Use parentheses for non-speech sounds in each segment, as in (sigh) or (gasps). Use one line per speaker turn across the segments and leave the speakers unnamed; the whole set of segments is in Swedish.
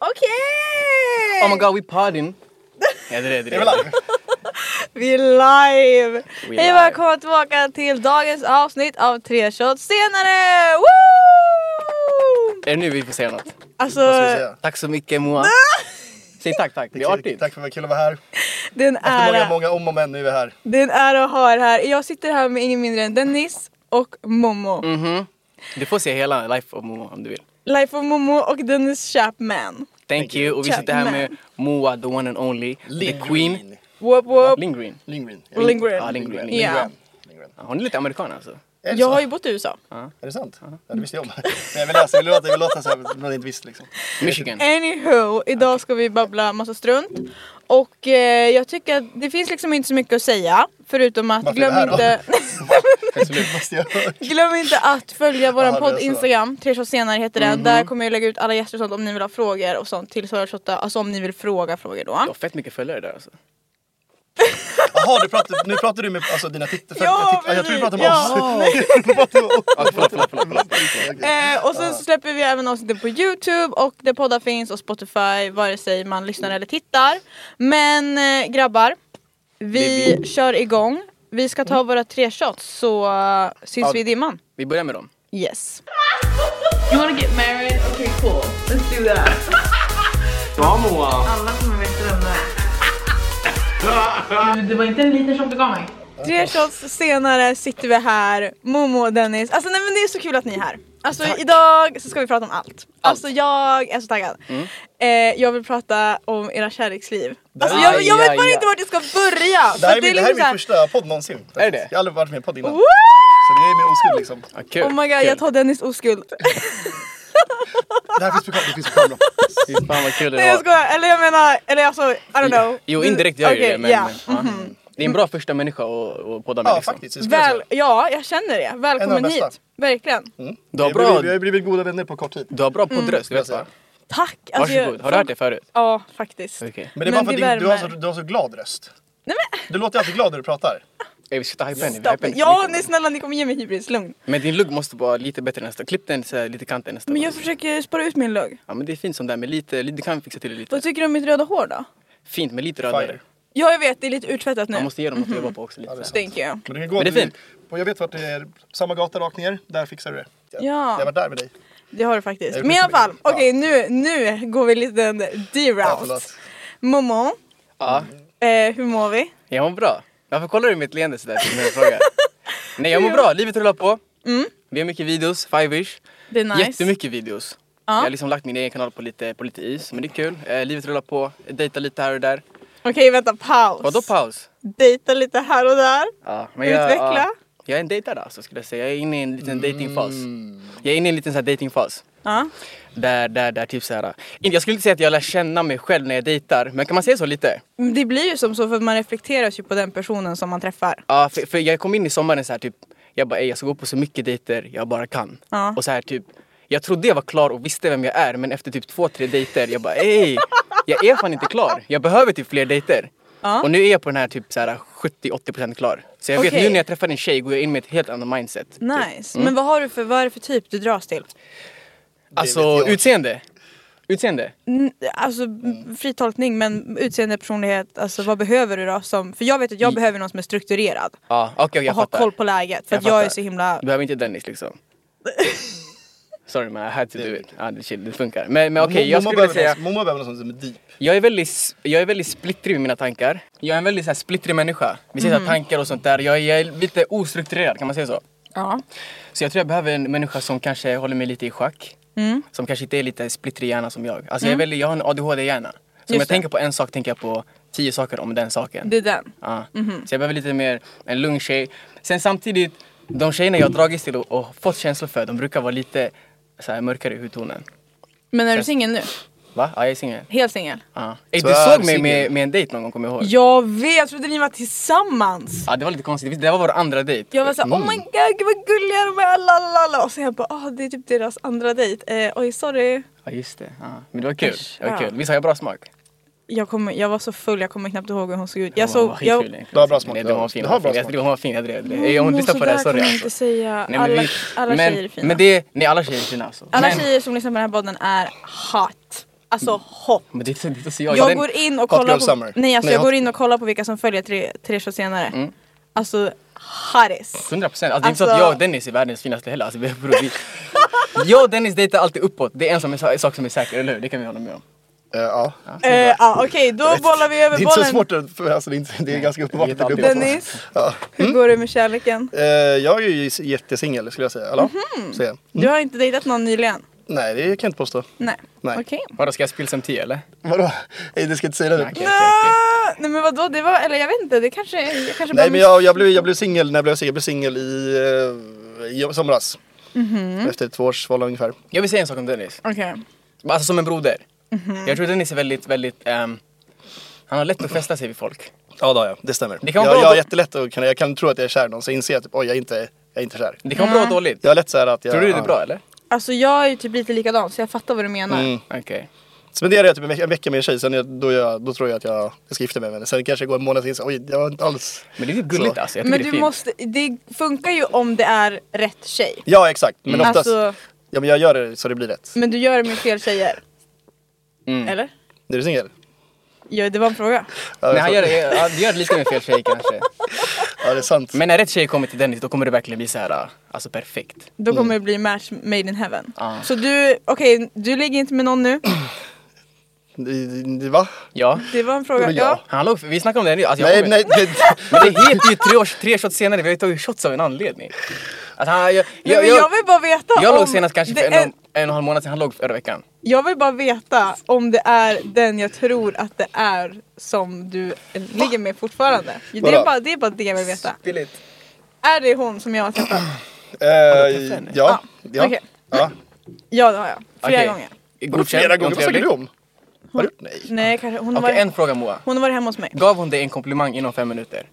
Okej!
Oh my god, we partying. Ja, det är det. det, är det.
Vi är live!
We
Hej
live.
och välkomna tillbaka till dagens avsnitt av Tre shots senare! Woo!
Är det nu vi får säga något?
Alltså,
Vad ska vi säga?
Tack så mycket Moa. Säg tack, tack. Det är
Kul-
artigt.
Tack för att det var kul att vara här.
det är en
Efter många,
ära,
många om och men, nu är vi här.
det är en ära att ha er här. Jag sitter här med ingen mindre än Dennis och Momo.
Mm.
Mhm. Du får se hela Life of Moa om du vill.
Life of Momo och Dennis Chapman.
Thank you. Och vi
Check
sitter här
man.
med Moa, the one and only, the queen.
Whoop whoop.
Lindgren.
Lindgren.
Lindgren. Ja.
Ja, Lindgren. Lindgren.
Lindgren.
Ja, Hon är lite amerikan alltså.
Är det,
Jag
så?
har ju bott i USA.
är det sant? Ja, det visste jag om. (laughs) Men jag vill läsa, jag vill låta, jag vill låta så här, men man inte visste liksom.
Michigan.
Anywho, idag ska vi babbla massa strunt. Och eh, jag tycker att det finns liksom inte så mycket att säga. Förutom att
Varför är
glöm
vi här då?
inte...
(laughs) Det måste jag
Glöm inte att följa vår
Ja, det är
podd
så. Mhm.
Instagram, tre shots senare heter den. Där kommer jag lägga ut alla gäster och sånt om ni vill ha frågor och sånt till Sara Shotta. Alltså om ni vill fråga frågor då.
Jag har fett mycket följare där alltså.
Jaha, du pratar, nu pratar du med alltså, dina tittare.
Ja,
jag, jag tror du pratar med
precis.
(laughs) oss.
Ja, Alltså, förlåt, förlåt, förlåt,
(laughs)
förlåt.
Eh, och sen så släpper vi även avsnitten på Youtube och där poddar finns och Spotify vare sig man lyssnar eller tittar. Men eh, grabbar, vi kör igång. Vi ska
Mm.
ta våra tre shots så eh, syns
Ja.
vi i dimman.
Vi börjar med dem.
Yes.
You wanna get married? Okay, cool. Let's do that.
Bra Moa!
Alla kommer veta vem det är. Du, Det var inte en liten shot du gav mig.
Tre
Alltså.
shots senare sitter vi här, Momo och Dennis. Alltså nej men det är så kul att ni är här. Alltså idag så ska vi prata om allt. Alltså jag är så taggad.
Mm.
Eh, jag vill prata om era kärleksliv. Alltså jag, jag vet
Aj,
bara
aj,
inte
aj.
vart jag ska börja. För
Det här är
att
min, det här är
liksom
min
såhär,
första podd någonsin. faktiskt.
Är det?
Jag har aldrig varit med i en podd innan.
Woo!
Så det är min oskuld liksom.
Ja, kul.
Oh my god
kul.
jag tar Dennis oskuld.
Det här finns på kam- det finns på kameran.
Fy fan vad kul
(laughs)
det
nej jag
var.
skojar, eller jag menar, eller alltså I don't know.
Jo, indirekt gör ju
Okej,
det men...
ja. Mm-hmm.
ja. Det är en bra första människa att att podda med
Ja,
liksom.
faktiskt. det skulle jag
Mm. Väl,
säga.
ja jag känner det.
En av
Välkommen
de bästa.
hit. Verkligen.
Du har
Vi har
bra,
blivit- Vi har blivit goda vänner på kort tid.
du har bra
Mm.
poddröst,
jag
vet du
säga.
va?
Tack. Alltså,
Varsågod,
jag-
har du hört det förut?
Ja faktiskt.
Okej.
Men det är
Men
bara för att
det
din- du har så-
värmer.
du har så glad röst.
Nej, men,
Du låter alltid glad när du pratar.
Ey, vi ska ta hypa henne, vi
Stopp.
hypar henne för
Ja,
mycket.
nej snälla ni kommer ge mig hybris, lugn.
Men din lugg måste vara lite bättre nästa Klipp den så här, lite i kanten nästa
Men
gång.
jag försöker spara ut min lugg.
Ja men det är fint som det är, men lite, lite, du kan fixa till det lite.
Vad tycker du om mitt röda hår då?
Fint men lite
Fire.
rödare.
Ja jag vet, det är lite urtvättat nu.
Man måste ge dem något
Mm.
att jobba på också lite. så här.
Thank you.
Men du kan gå
Men det är
till-
fint.
Och jag vet vart det är. Samma gata rakt ner. Där fixar du det. Jag,
Ja.
jag var där med dig.
Det har du faktiskt.
Jag
Men i alla fall,
Ja.
okej nu, nu går vi lite en
Ja,
D-route.
förlåt.
Momo,
Ja,
eh, hur mår vi?
jag mår bra. Varför kollar du mitt leende sådär? till när
(laughs)
jag frågar? Nej jag mår bra, livet rullar på. Vi har mycket videos, five-ish.
Det är Mm. nice.
Jättemycket videos. Jag har liksom lagt min egen kanal på lite, på lite is, men det är kul. Eh, livet rullar på, dejtar lite här och där.
Okej vänta, paus.
Vadå paus?
Dejta lite här och där.
Ja, Jag,
Utveckla. Mm.
ja, jag är en dejtare alltså skulle jag säga. Jag är inne i en liten datingfas. Jag är inne i en liten så här datingfas.
Ja.
Där, där, där typ såhär. Jag skulle inte säga att jag lär känna mig själv när jag dejtar, men kan man säga så lite?
Men Det blir ju som så för man reflekteras ju på den personen som man träffar.
Ja, för, för jag kom in i sommaren så här typ, jag bara "Ey, jag ska gå på så mycket dejter jag bara kan.
Ja.
Och så här typ, jag trodde jag var klar och visste vem jag är men efter typ två, tre dejter jag bara ey, jag är fan inte klar. Jag behöver typ fler dejter.
Ja.
Och nu är jag på den här typ så här 70-80% klar. Så jag vet
Okej.
nu när jag träffar en tjej går jag in med ett helt annat mindset. typ.
Nice. Men vad har du för, vad är det för typ du dras till?
vet
Alltså
jag.
utseende. Utseende.
N- Alltså
Mm.
m- fri tolkning men utseende, personlighet, alltså vad behöver du då? Som, för jag vet att jag behöver någon som är strukturerad
Ja, okej okej, jag
och har
fattar.
koll på läget för
Jag
att jag är
fattar.
så himla...
Du behöver inte
(laughs)
Dennis liksom. Sorry man, I had to do it. Ja, det, chill, det funkar. Men, men okej, jag
Momo
skulle vilja
behöver
säga...
någon- Momo behöver någon som är deep.
Jag är väldigt, jag är väldigt splittrig med mina tankar. Jag är en väldigt så här, splittrig människa. Vi säger så här,
Mm.
tankar och sånt där. Jag, jag är lite ostrukturerad, kan man säga så?
Ja.
Så jag tror jag behöver en människa som kanske håller mig lite i schack.
Mm.
Som kanske inte är lite splittrig hjärna som jag. Alltså jag, är väldigt, jag har en ADHD-hjärna. Så om
Just
jag
det.
tänker på en sak tänker jag på tio saker om den saken.
Det är den.
Ja. Ah.
Mhm.
Så jag behöver lite mer en lugn tjej. Sen samtidigt, de tjejerna jag har dragits till och, och fått känslor för, de brukar vara lite så här, mörkare i hudtonen.
Men är du singel nu?
Va? Ja, jag är singel.
Helt singel?
Ja. Ey,
Så
du
är
såg mig
singel.
med, med en dejt någon gång, kommer jag ihåg.
Jag vet, jag trodde ni var tillsammans!
Ja, det var lite konstigt. Visst, Det var vår andra dejt. Mm.
Jag var såhär oh my god gud vad gulliga de är, lalala. Och så jag bara ah det är typ deras andra dejt, eh, oj sorry.
Ja, just det. Ja. Men det var kul.
Usch,
Det var
ja.
kul. Visst har jag bra smak?
Jag, kommer, jag var så full jag kommer knappt ihåg hur hon såg ut.
Ja,
Jag
hon var
såg,
skitful
jag, Mm,
egentligen.
Du har bra smak,
Nej,
du
du
har-
har fin.
du
Hon
har
var fin.
bra
Jag
smak.
tycker hon var fin, jag drev. det. Ey, Om hon lyssnar på det här,
sådär
sorry.
kan man
alltså.
inte säga.
Nej, men
alla,
vi-
alla
men,
tjejer är fina.
Men det, nej, alla tjejer är fina alltså.
alla
men,
tjejer som lyssnar på den här podden är hot. Alltså hot.
Men det är inte- det är inte så jag.
Jag
den-
går in och
Hot
kollar
Girl
på,
Summer.
nej, alltså
Nej,
jag
hot- Mm.
går in och kollar på vilka som följer tre, tre shows senare. Alltså hotties.
100 procent. Alltså, det är inte så att
Alltså-
jag och Dennis är världens finaste heller. Alltså, vi- bror, vi, jag och Dennis dejtar alltid uppåt. Det är en som är, sak som är säker, eller hur? Det kan vi hålla med om.
Eh, ja.
Eh, ah, Okej, då bollar vi
Det
över
är inte så
bollen.
svårt, att- för, alltså, det, är inte, det är ganska uppenbart.
vet
att det blir
aldrig.
uppenbart.
Dennis,
Ja.
hur går det med kärleken?
Eh, jag är ju jättesingel skulle jag säga. Eller?
Mhm.
Så, ja.
Du har inte dejtat någon nyligen?
Nej, det kan jag inte påstå.
Nej.
Nej.
Okej.
Vadå, ska jag spill som tio eller?
Vadå? Nej, du ska inte säga det nu.
Nej, okej, okej, okej.
Ah, Nej men vadå, det var, eller jag vet inte, det kanske, jag kanske
Nej,
bara
men jag, jag
(laughs)
blev, jag blev singel när jag blev singel. Jag blev singel i, eh, i somras.
Mhm.
Efter två års förhållande ungefär.
Jag vill säga en sak om Dennis.
Okej.
Alltså som en broder.
Mhm.
Jag tror Dennis är väldigt, väldigt... ehm, han har lätt att fästa sig vid folk.
Ja, det har jag. Det stämmer.
Det kan
jag,
vara bra
jag har
då-
jättelätt att kunna, jag kan tro att jag är kär i någon, så inser jag typ, oj, jag är inte, jag är inte kär.
Det kan vara
Mm.
bra och dåligt.
Jag har lätt så här att jag...
Tror du det är
ja.
bra eller?
Alltså jag är ju typ lite likadan så jag fattar vad du menar.
Mm.
Okej.
Spenderar jag typ en veck- en vecka med en tjej, sen jag, då, jag, då tror jag att jag, jag ska gifta mig med henne. Sen kanske jag går en månad och inser, oj, jag var inte alls...
Men det är ju gulligt
Så.
alltså. Jag tycker
Men
det är
du
fint.
måste, det funkar ju om det är rätt tjej.
Ja, exakt. Men oftast,
Alltså,
ja, men jag gör det så det blir rätt.
men du gör det med fel tjejer.
Mm.
Eller?
Är du singel?
Ja, det var en fråga.
Ja,
Nej,
jag
han gör,
tror-
det- ja, det gör det lite med fel tjej kanske.
ja, det är sant.
Men när rätt tjej kommer till Dennis då kommer det verkligen bli så här, ah, alltså perfekt.
Då kommer det bli match made in heaven.
Ja.
Så du, okej, du ligger inte med någon nu.
Det- det- Va?
Ja.
Det var en fråga.
Men ja.
Han låg, vi snackade om det nu. Alltså, (laughs) jag
Nej,
kommer-
nej, det,
Men det heter ju tre, års, tre shots senare, vi har ju tagit shots av en anledning. Alltså, han, jag,
Nej,
jag,
men jag
jag,
vill bara veta
jag
om
låg senast kanske för
det
en,
är,
och- en och en halv månad sedan, han låg förra veckan.
Jag vill bara veta om det är den jag tror att det är som du ligger med fortfarande. Det är
Vadå?
bara det, är bara det jag vill veta.
Billigt.
Är det hon som jag har träffat?
eh,
henne.
ja. Ja.
Ah, okej.
ja.
Ja det har jag. Flera
Okej.
gånger.
Vadå,
Godkänd,
flera
var
gånger? Vad snackar
trevlig.
du om? Har du? Nej.
Nej kanske, hon, har
Okej,
varit,
en fråga Moa.
hon har varit hemma hos mig.
Gav hon dig en komplimang inom fem minuter?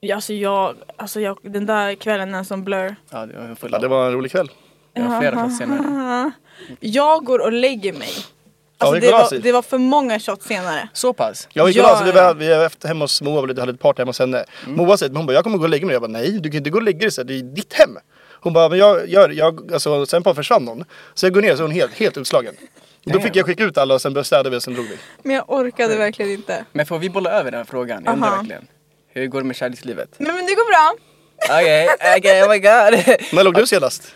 Ja, alltså jag, alltså jag, den där kvällen är som blur.
Ja, det var en full
Ja, det var en rolig kväll.
det var flera shots senare.
(laughs) Jag går och lägger mig. Alltså,
det
det,
går
var,
alltså.
det var för många shots senare.
Så pass?
Jag och
Ja. Mm.
Nicola, alltså, vi var, vi var efter, hemma hos Moa, vi hade ett party hemma hos henne. Moa säger, hon bara, jag kommer gå och lägga mig. Jag bara, nej, du kan inte gå och lägga dig, så här, det är ditt hem. Hon bara, men jag gör, jag, alltså, sen bara försvann hon. Så jag går ner så är hon helt, helt utslagen. Då
Damn.
fick jag skicka ut alla och sen började städa vi och sen drog vi.
Men jag orkade verkligen inte.
Men får vi bolla över den här frågan? Jag undrar
Aha.
verkligen. Hur går det med kärlekslivet? (laughs)
Men, men det går bra.
Okej, okej, oh my god. (laughs)
När låg du
Alltså-
senast?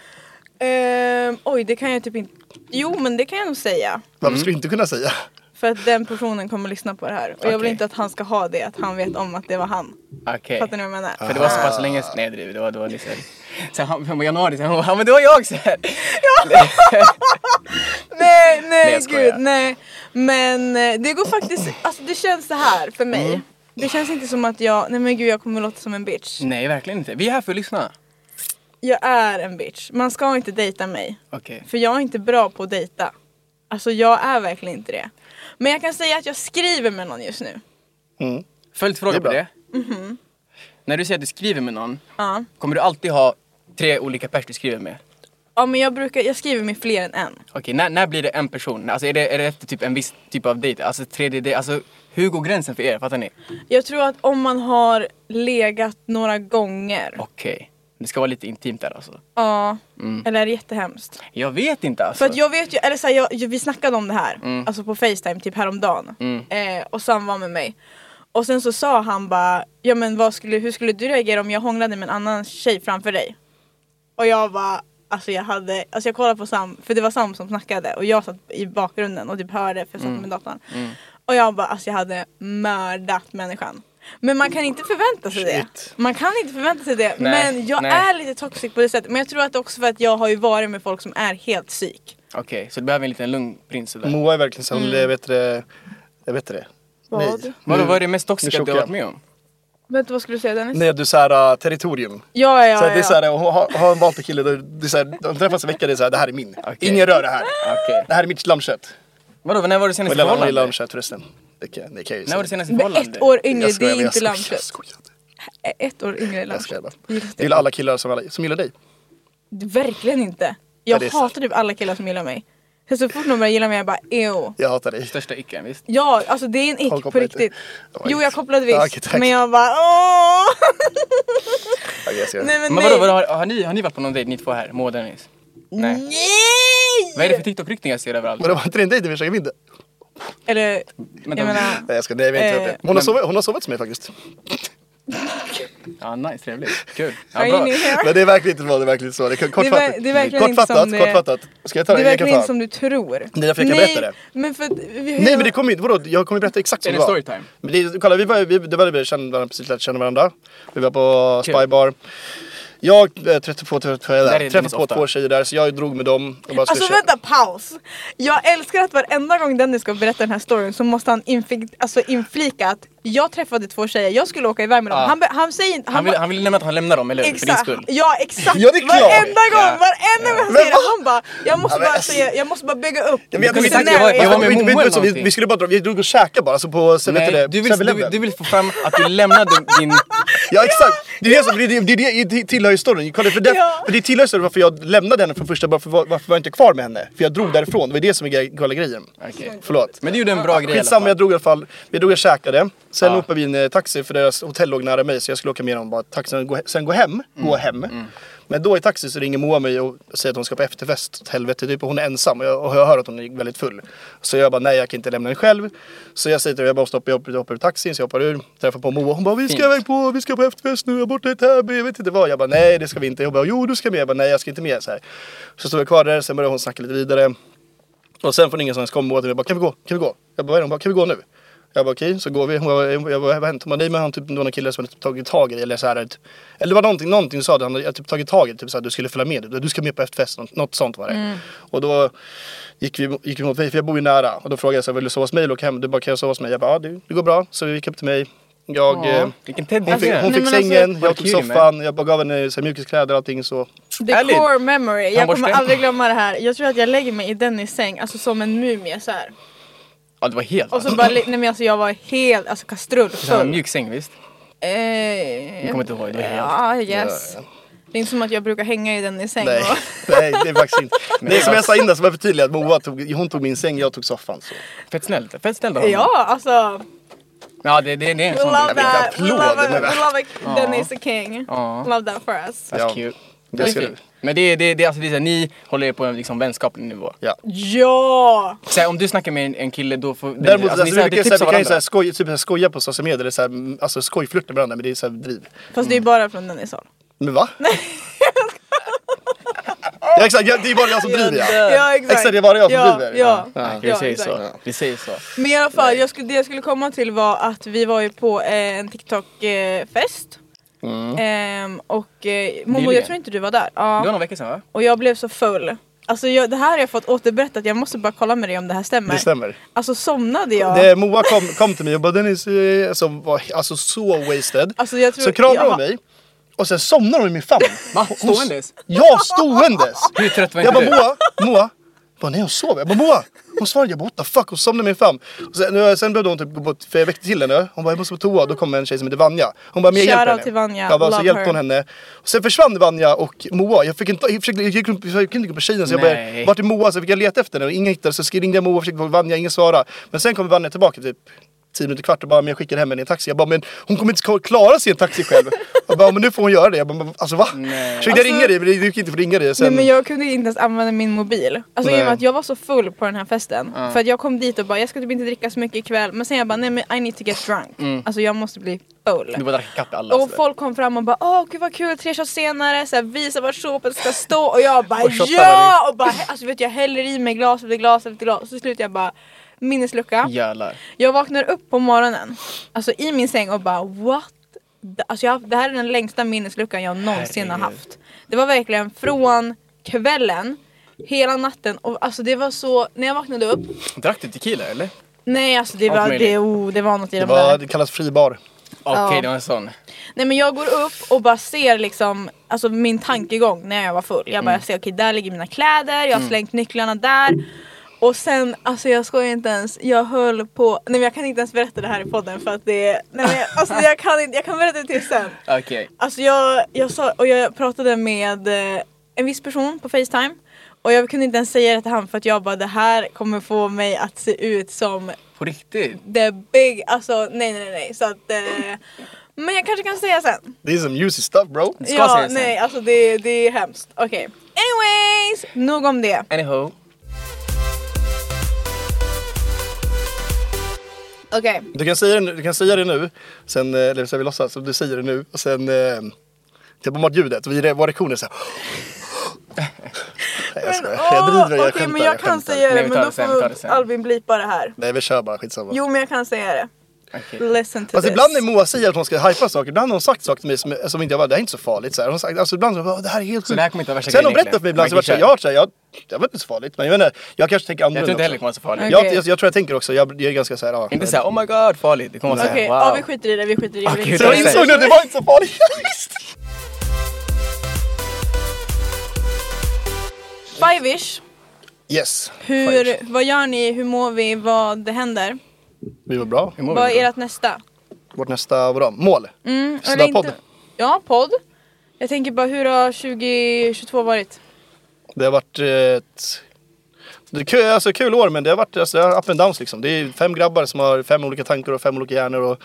Ehm, oj, det kan jag typ inte. Jo, men det kan jag nog säga.
Varför skulle du inte kunna säga?
För att den personen kommer lyssna på det här. Och jag vill
Okej.
inte att han ska ha det, att han vet om att det var han.
Okej.
Fattar ni vad jag menar?
För det var så pass länge sedan, nej jag driver, det var, det var liksom Sen han, han var januari, sen han bara, "Ja, men det var jag så här.
Nej, nej,
jag skojar.
gud, nej. Men eh, det går faktiskt, alltså det känns så här för mig.
Mm.
Det känns inte som att jag, nej men gud jag kommer låta som en bitch.
Nej verkligen inte, vi är här för att lyssna.
Jag är en bitch. Man ska inte dejta mig.
Okej.
För jag är inte bra på att dejta. Alltså jag är verkligen inte det. Men jag kan säga att jag skriver med någon just nu.
Mm. Det
Följdfråga
är
på
bra. Mhm.
det. När du säger att du skriver med någon,
Ja.
kommer du alltid ha tre olika pers du skriver med?
Ja men jag brukar, jag skriver med fler än en.
Okej, när, när blir det en person? Alltså är det, är det efter typ en viss typ av dejt? Alltså tredje dejt? Alltså hur går gränsen för er? Fattar ni?
Jag tror att om man har legat några gånger.
Okej, det ska vara lite intimt där alltså.
Ja. Eller är det jättehemskt?
Jag vet inte alltså.
För att jag vet ju, eller så här, jag, jag, vi snackade om det här, alltså på Facetime typ häromdagen. Eh, och Sam var med mig. Och sen så sa han bara, ja men vad skulle, hur skulle du reagera om jag hånglade med en annan tjej framför dig? Och jag bara, alltså jag hade, alltså jag kollade på Sam, för det var Sam som snackade och jag satt i bakgrunden och typ hörde för jag satt med datorn. Och jag bara, alltså jag hade mördat människan. Men man kan inte förvänta sig
Shit.
det. Man kan inte förvänta sig det.
Nej,
men jag
nej.
är lite toxic på det sättet. Men jag tror att det är också för att jag har ju varit med folk som är helt psyk.
Okej, så du behöver en liten lugn prins sådär.
Moa är verkligen som, mm. vet du det? Jag vet det.
Vad?
Vadå, vad är det mest toxiska
Nu
du
chokar
har varit med
jag.
om?
Vänta vad skulle du säga Dennis?
När du såhär äh, territorium.
Ja ja ja.
så här, det är
ja.
såhär, och har, har en valt en kille, då, det är såhär, de träffas en vecka, det är såhär, det här är min. Ingen rör det här.
Okej.
Det här är mitt lammkött.
Vadå, när var du senast i
Eller vad är
förhållande?
lammkött förresten? Det kan, det kan jag ju
När var
säga.
du senast i
Men
förhållande?
ett år yngre,
Jag skojar,
det är
men jag
inte
skojar, Jag
lammkött.
skojar,
Ä- Ett år yngre är
jag skojar bara.
lammkött.
Det är väl alla killar som, alla, som gillar dig?
Verkligen inte.
Ja,
Jag
det är
hatar typ alla killar som gillar mig. Så, så fort någon börjar gilla mig jag bara ew.
Jag
(laughs)
hatar dig.
Största ycken, visst?
Ja, alltså det är en
Har du
ick på
kopplat
riktigt.
det? Det
Jo
var inte-
jag kopplade visst,
Ja, okej, tack.
men jag bara åh!
Okej, jag ser det.
nej men, nej.
Men vadå, vadå har, har, ni, har ni varit på någon dejt ni två här? Moa och Dennis? Nej.
Nej!
Vad är det för TikTok-ryckningar jag ser överallt?
Men det var inte din dejt i första vinden?
Eller,
Men
jag
de-
menar,
Nej jag ska, nej vi har inte
Eh,
gjort det. Hon har, sovit, hon har sovit som mig faktiskt.
Ja, nice, trevligt. Kul.
are
Ja,
you
bra.
new here?
Men det är verkligen inte vad det är verkligen så. Det är
Det är ver-
kortfattat.
det är verkligen inte
kortfattat,
som det-
kortfattat. Ska jag ta
Det
det?
är
Jag kan
verkligen
ta.
som du tror. Det
är därför jag kan
nej,
berätta det.
Men för att, vi,
Nej men det kommer ju inte, vadå? Jag kommer berätta exakt
Är
som det
det
var.
storytime?
Men det, kolla, vi började, vi, det började vi känna varandra, precis lärt känna varandra. Vi var på
Kul.
Spybar. Jag eh, 32, 32,
är
där,
Dennis
träffade på
ofta.
två tjejer där så jag drog med dem. Och bara skulle
Alltså
köra.
vänta, paus! Jag älskar att varenda gång Dennis ska berätta den här storyn så måste han infik- alltså inflika att jag träffade två tjejer, jag skulle åka iväg med dem.
Ja.
Han, be- han säger inte...
Han vill, han vill nämna att han lämnar dem, eller hur? För din
Exakt,
skull.
ja exakt!
Ja, det är klart.
Varenda gång,
Ja.
varenda gång han
Men
säger det,
vad?
han bara jag måste,
Ja, men
bara
alltså-
säga, jag måste bara bygga upp
Jag vet, jag
Vi
vet,
kan
jag
inte-
vet,
jag var med
vi- vi-
Momo
vi-
eller
så vi,
någonting.
vi skulle bara dra, vi drog och käkade bara alltså på, så vet
Nej,
det,
du vill, du, vill-
7-Eleven.
du vill få fram att du lämnar dem, din...
Ja exakt! Det är det som det, det, det, det, det tillhör ju storyn. Kolla, för det,
Ja.
för det tillhör ju storyn varför jag lämnade henne från första början, för var- varför var jag inte kvar med henne? För jag drog därifrån, det var det som är gre- kolla grejen.
Okej.
Förlåt.
Men du gjorde en bra grej i alla
Skitsamma,
fall.
jag drog i alla fall. Vi drog och käkade. Sen
Ja.
hoppade vi i en eh, taxi för deras hotell låg nära mig så jag skulle åka med dem bara taxin och gå, he- sen gå hem.
Mm.
Gå hem. Men då i taxi så ringer Moa mig och säger att hon ska på efterfest åt helvete. Typ, och hon är ensam och jag, och jag hör att hon är väldigt full. Så jag bara nej jag kan inte lämna henne själv. Så jag säger till henne jag bara stoppar, jag hoppar, jag hoppar ur taxin så jag hoppar ur. Träffar på Moa hon bara vi ska
Fint.
iväg på, vi ska på efterfest nu, jag är borta i Täby, jag vet inte vad. Jag bara nej det ska vi inte. Jag bara jo du ska med. Jag bara nej jag ska inte med. Så, här. så står jag kvar där, sen börjar hon snacka lite vidare. Och sen från ingenstans kom Moa till mig och bara kan vi gå, kan vi gå? Jag bara vad är det? Hon bara kan vi gå nu? Jag bara okej, så går vi. Hon bara, jag bara vad har hänt? Hon bara nej men han typ det var någon kille som hade typ tagit tag i dig eller så här. Typ. Eller det var någonting, någonting sa det, han hade typ tagit tag i dig, typ så här, du skulle följa med, du, du ska med på efterfest, något, något sånt var det. Och då gick vi, gick vi mot mig, för jag bor ju nära. Och då frågade jag så här, vill du sova hos mig eller åka hem? Du bara kan jag sova hos mig? Jag bara ja det, det går bra. Så vi gick upp till mig. Jag, eh,
Vilken
hon fick,
teddy.
hon fick
men alltså,
sängen,
vad
jag tog
kul, men.
soffan, jag bara gav henne så här, mjukiskläder och allting så.
the
Ärligt.
core memory. Jag
Tandborste.
kommer aldrig glömma det här. Jag tror att jag lägger mig i Dennis säng, alltså som en mumie så här.
Ja, det var helt...
Och så bara, li- nej men alltså jag var helt, alltså
Det var en
kastrullfull.
mjuk säng, visst?
Eh,
Jag kommer inte ihåg, det var helt...
Ja, yes. Det är inte som att jag brukar hänga i den i säng.
Nej,
och- (laughs)
nej det är faktiskt inte. Nej, som
var-
jag sa innan så var jag förtydligad. Moa tog, hon tog min säng, jag tog soffan. Så.
Fett snällt. Fett snällt av honom.
Ja, alltså.
Ja, det, det, det är en
We
sån
love
grej.
that. We
applåd,
love,
men-
we love it. Dennis the king.
Ja.
Love that for us.
That's
Ja.
cute.
Det
Det är
ska
fint.
du.
Men det är, det, är- det är alltså, det är så här, ni håller er på en liksom vänskaplig nivå.
Ja.
alltså, Ja!
Så här, om du snackar med en, en kille då får...
Däremot alltså,
ni
vi brukar ju
tipsar
såhär- vi kan ju
varandra.
såhär skoj, typ, såhär skoja på sociala medier, eller såhär, mm, alltså skojflört med varandra men det är såhär driv.
Fast det är bara från Dennis håll.
Men va? (laughs) ja, exakt, ja, det är bara jag som driver ja.
Ja, exakt.
Exakt, det är bara jag som
ja,
driver.
Ja,
Ja.
Vi säger
exakt.
så. Vi säger så.
Men i alla fall, jag skulle, det jag skulle komma till var att vi var ju på eh, en TikTok-fest. Ehm, och eh, Momo,
Nyligen.
jag tror inte du var där.
Det var
Ja.
någon vecka sedan va?
Och jag blev så full. Alltså jag, det här har jag fått återberättat, jag måste bara kolla med dig om det här stämmer.
Det stämmer.
Alltså somnade jag?
Det, Moa kom, kom till mig och bara Dennis, eh, alltså, var, alltså så wasted.
Alltså, jag tror-
så kramade
jag-
hon mig och sen somnade hon i min famn.
Va?
Hon-
Ståendes?
Ja, ståendes!
Hur trött var
Jag
inte
bara
du?
Moa, Moa. Jag bara nej hon sover. Jag bara Moa. Hon svarade jag bara what the fuck hon somnade i min famn. Och sen, nu- sen behövde hon typ gå på, för jag väckte till henne. Hon bara jag måste på toa. Då kom en tjej som heter Vanja. Hon bara men jag
Shout
hjälper
out
henne.
till Vanja.
Jag bara så
Love
hjälpte hon
her.
henne. Och sen försvann Vanja och Moa. Jag fick inte, jag försökte, jag gick runt- jag gick inte gå på tjejen så jag bara
Nej.
vart är Moa? Så fick jag leta efter henne och ingen hittade. Så sk- ringde jag Moa och försökte få Vanja, ingen svarade. Men sen kom Vanja tillbaka typ 10 minuter kvart och bara men jag skickar hem henne i en taxi. Jag bara men hon kommer inte klara sig i en taxi själv. Jag bara men nu får hon göra det. Jag bara men alltså va? Försökte jag ringa dig men det gick inte att ringa dig. Sen...
Nej men jag kunde inte ens använda min mobil. Alltså i och med
Nej.
att jag var så full på den här festen. För att jag kom dit och bara jag ska typ inte dricka så mycket ikväll. Men sen jag bara nej men I need to get drunk.
Mm.
Alltså jag måste bli full.
Du bara drack ikapp alla. alltså.
Och
sådär.
folk kom fram och bara åh gud vad kul, tre shots senare, så här, visa var såpet ska stå och jag bara
Och shottade
ja! Och bara, alltså vet jag häller i mig glas efter glas efter glas och så slutar jag bara minneslucka.
Jävlar.
Jag vaknar upp på morgonen, alltså i min säng och bara what? the- Alltså jag, har haft- det här är den längsta minnesluckan jag någonsin har
Herregud.
haft. Det var verkligen från kvällen, hela natten och alltså det var så, när jag vaknade upp,
Drack du tequila eller?
nej alltså det
Allt
var,
möjligt.
det, oh, det var något i
det,
de
var,
där.
det kallas fribar.
Okej,
Ja.
det var en sån.
Nej men jag går upp och bara ser liksom, alltså min tankegång när jag var full. Jag bara ser okej där ligger mina kläder, jag har slängt nycklarna där. Och sen, alltså jag skojar inte ens, jag höll på, nej men jag kan inte ens berätta det här i podden för att det är, nej men jag, alltså jag kan inte, jag kan berätta det till sen.
Okej.
Alltså jag, jag sa, och jag pratade med eh, en viss person på Facetime och jag kunde inte ens säga det till han för att jag bara det här kommer få mig att se ut som
På riktigt?
the big, alltså nej nej nej så att eh, men jag kanske kan säga sen.
Det är some juicy stuff bro.
Ska
ja,
säga sen.
nej alltså det, det är hemskt. Okej. Anyways, nog om det.
Anyhow.
Okej.
Du kan säga det, nu- du kan säga det nu, sen, eh, eller så här, vi låtsas som du säger det nu och sen eh, ta bort ljudet. Vi, vår reaktion är
(laughs)
så här. Nej jag skojar, jag
åh,
driver jag
okej,
skämtar.
men jag kan
skämtar.
säga det
Nej, vi tar
men då
det sen, vi tar det
får
sen.
Albin blipa det här.
Nej vi kör bara, skitsamma.
Jo men jag kan säga det.
Okej.
Listen to
Fast
this.
Alltså, ibland när Moa säger att hon ska hypa saker, ibland har hon sagt saker till mig som, som inte jag bara, det här är inte så farligt. Så här. Hon har sagt, alltså ibland så bara, det här är helt
Så det här kommer inte vara värsta
Sen har hon
grejen
berättat för mig ibland, så vart
egentligen.
jag, jag, har varit så här, jag, det var inte så farligt. Men jag menar, jag kanske tänker
Jag
annorlunda
tror inte heller det kommer
också.
vara så farligt.
Okej.
jag, jag, jag tror jag tänker också, jag, jag är ganska såhär, ja.
Inte såhär oh my god farligt. Det kommer vara
Okej,
såhär
ja
wow.
vi skiter i det, vi skiter i det.
Okej,
Vi
Så jag
skiter i
insåg nu, det var inte så farligt.
Five-ish.
yes,
Hur, vad gör ni, hur mår vi, vad händer?
vi var bra.
Hur mår
Vad
vi
är
då?
ert nästa?
Vårt nästa, vadå, mål?
Mm,
Sådär
eller inte-
podd.
Ja, podd. Jag tänker bara, hur har 2022 varit?
Det har varit eh, ett... Det är kul, alltså, kul år men det har varit alltså, det har up and downs liksom. Det är fem grabbar som har fem olika tankar och fem olika hjärnor och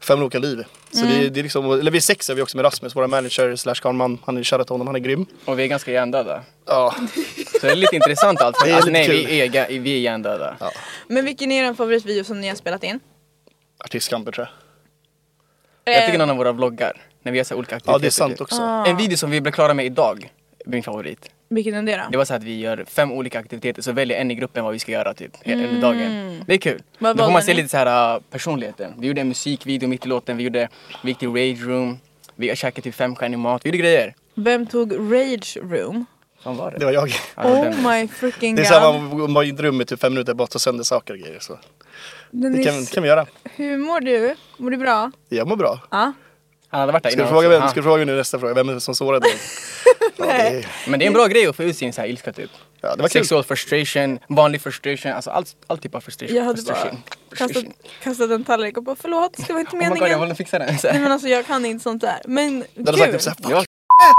fem olika liv. Så det, är- det är liksom, eller vi är sex är vi också med Rasmus, våra manager slash karlman. Han är shoutout till honom, han är grym.
Och vi är ganska hjärndöda.
Ja,
Så det är lite intressant allt.
Det
Men,
är
alltså,
lite
nej,
kul.
vi är, ga- vi är hjärndöda.
Men vilken är den favoritvideo som ni har spelat in?
artistkamper tror jag.
Jag
Eh,
tycker någon av våra vloggar. När vi gör så här olika aktiviteter.
Ja det är sant
typ.
också.
Ah.
En video som vi blev klara med idag. Min favorit.
Vilken är det
Det
då?
var så att vi gör fem olika aktiviteter så väljer en i gruppen vad vi ska göra typ he- under dagen. Det är kul.
Mm. Vad
Då får
valde
man se
ni?
lite så här uh, personligheten. Vi gjorde en musikvideo mitt i låten, vi gjorde, vi gick till Rage Room, vi käkade typ femstjärnig mat, vi gjorde grejer.
Vem tog Rage Room?
Fan var det?
Det var jag.
Ja, det var den.
Oh my freaking
Det
god.
är såhär man var i ett rum i typ fem minuter bara tar sönder saker och grejer. Så. Det kan,
Dennis,
kan vi göra.
hur mår du? Mår du bra?
Jag mår bra.
Ja.
alltså, Han hade varit där
Ska du
innan
fråga,
också.
vem, ska du fråga nu nästa fråga, vem är det som sårade dig? Ja, det är-
Men det är en bra grej att få ut sin så här ilska typ.
Ja, det var kul.
Sexual frustration, vanlig frustration, alltså all, all typ av frustration.
Jag hade bara
frustration.
kastat,
Frustration.
kastat en tallrik och bara förlåt, det var inte
Oh my god, jag
meningen.
håller fixa den. Så
Nej
här.
men alltså jag kan inte sånt där. Men
Du hade sagt typ såhär, fuck,
Ja.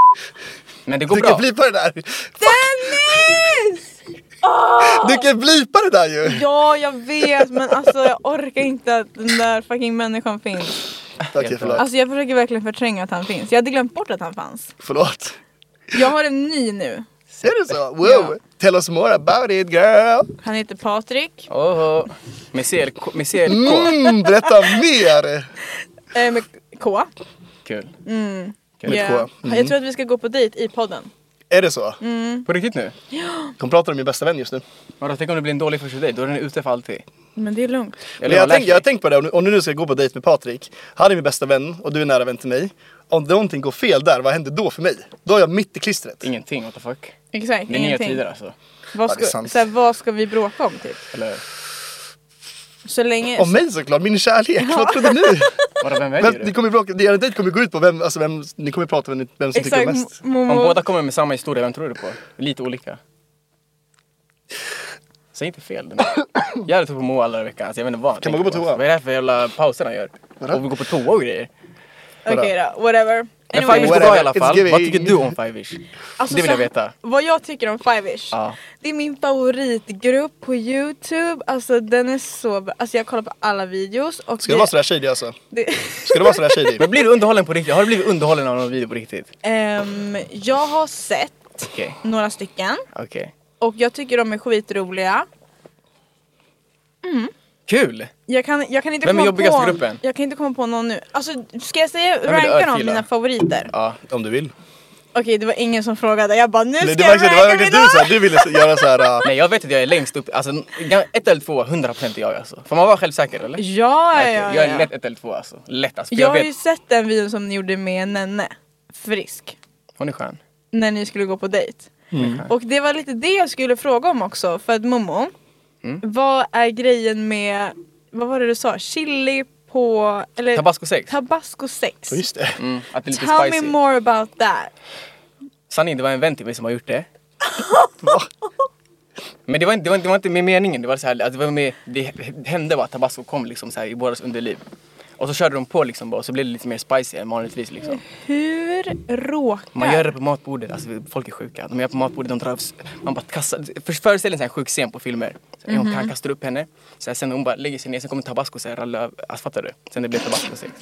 Men det går
du
bra.
kan blipa det där.
Dennis! Åh!
Du kan blipa det där ju.
Ja, jag vet men alltså jag orkar inte att den där fucking människan finns.
Okej,
Helt
förlåt.
Alltså jag försöker verkligen förtränga att han finns. Jag hade glömt bort att han fanns.
Förlåt.
Jag har en ny nu.
Ser du så? Wow!
Ja.
Tell us more about it girl!
Han heter Patrik.
Oho. Med CLK, med CLK.
Mm, berätta mer!
Eh, med K.
Kul.
Med
Ja.
K.
Jag tror att vi ska gå på dejt i podden.
Är det så?
På riktigt nu?
Hon pratar om min bästa vän just nu.
Vadå, tänk om det blir en dålig första dejt, då är den ute för alltid.
Men det är lugnt.
Men jag, tänk, jag har tänkt på det, om du- om du nu ska gå på dejt med Patrik, han är min bästa vän och du är nära vän till mig. Om någonting går fel där, vad händer då för mig? Då är jag mitt i klistret.
Ingenting, what the fuck.
Exakt,
Det är nya
ingenting.
tider alltså.
Vad
Ja, det är
ska,
sant.
så här, vad ska vi bråka om typ?
Eller
Så länge...
Om mig såklart, min kärlek. Vad trodde ni?
vadå, vem väljer
Vem, ni
du?
kommer bråka, er dejt kommer gå ut på vem, alltså vem, ni kommer prata om vem, vem som
Exakt,
tycker mest.
Momo.
Om båda kommer med samma historia, vem tror du på? Lite olika. Säg inte fel.
(coughs)
Den. Jag hade trott på Moa alla veckan, alltså jag vet inte vad. han
Kan man
tänker
gå på toa?
Vad är det här för jävla pauser han gör?
Vadå?
Och vi går på toa och grejer.
Okej då, whatever.
Men Five-ish
Anyway,
går
whatever,
bra i alla
it's
fall.
giving.
Vad tycker du om Five-ish?
alltså,
det vill
så
jag veta.
Vad jag tycker om Five-ish.
Ja.
Det är min favoritgrupp på youtube, alltså den är så bra. Alltså jag kollar på alla videos och
Ska du vara sådär shady alltså?
det,
Ska du vara sådär shady?
Men blir du underhållen på riktigt? Har du blivit underhållen av någon video på riktigt?
Ehm, Jag har sett
Okej,
några stycken
okej.
och jag tycker de är skitroliga.
Kul!
Jag kan, jag kan inte
Vem är
komma
jobbigaste
på,
gruppen?
Jag kan inte komma på någon nu. Alltså ska jag säga
är det
ranka dem,
örfila?
mina favoriter?
Ja,
Om du vill.
Okej det var ingen som frågade, jag bara nu
Nej,
ska
det
jag
var det var
ranka
verkligen
mina!
du såhär, du ville göra såhär... Uh,
Nej jag vet att jag är längst upp, alltså ga- ett eller två, 100% är jag alltså. Får man vara självsäker eller?
Ja,
Okej,
ja,
Jag
ja.
är lätt ett eller två alltså. Lätt alltså. För
Jag
jag,
har ju
vet,
sett den videon som ni gjorde med Nenne, Frisk,
hon är skön.
när ni skulle gå på dejt.
Mm.
Mm.
Och det var lite det jag skulle fråga om också,
Mm.
för att Momo, vad är grejen med, vad var det du sa, chili på... Eller,
Tabasco 6.
Tabasco 6.
Ja, Just det.
Mm, att det är lite
Tell
spicy.
me more about that.
Sanningen, det var en vän till mig som har gjort det. (laughs) Men det var, inte, det, var inte, det var inte med meningen, det var så här, att det, var med, det hände bara att tabasco kom liksom så här i våras underliv. Och så körde de på liksom bara, och så blev det lite mer spicy än vanligtvis liksom.
Hur råkar...
Man gör det på matbordet, alltså folk är sjuka. De gör det på matbordet, de drar, man bara kastar. för- Föreställ dig en sån här sjuk scen på filmer. Så här, hon, han kastar upp henne, så här, sen hon bara lägger sig ner, sen kommer tabasco och så här, rallar över. Alltså fattar du? Sen det blir tabasco sex.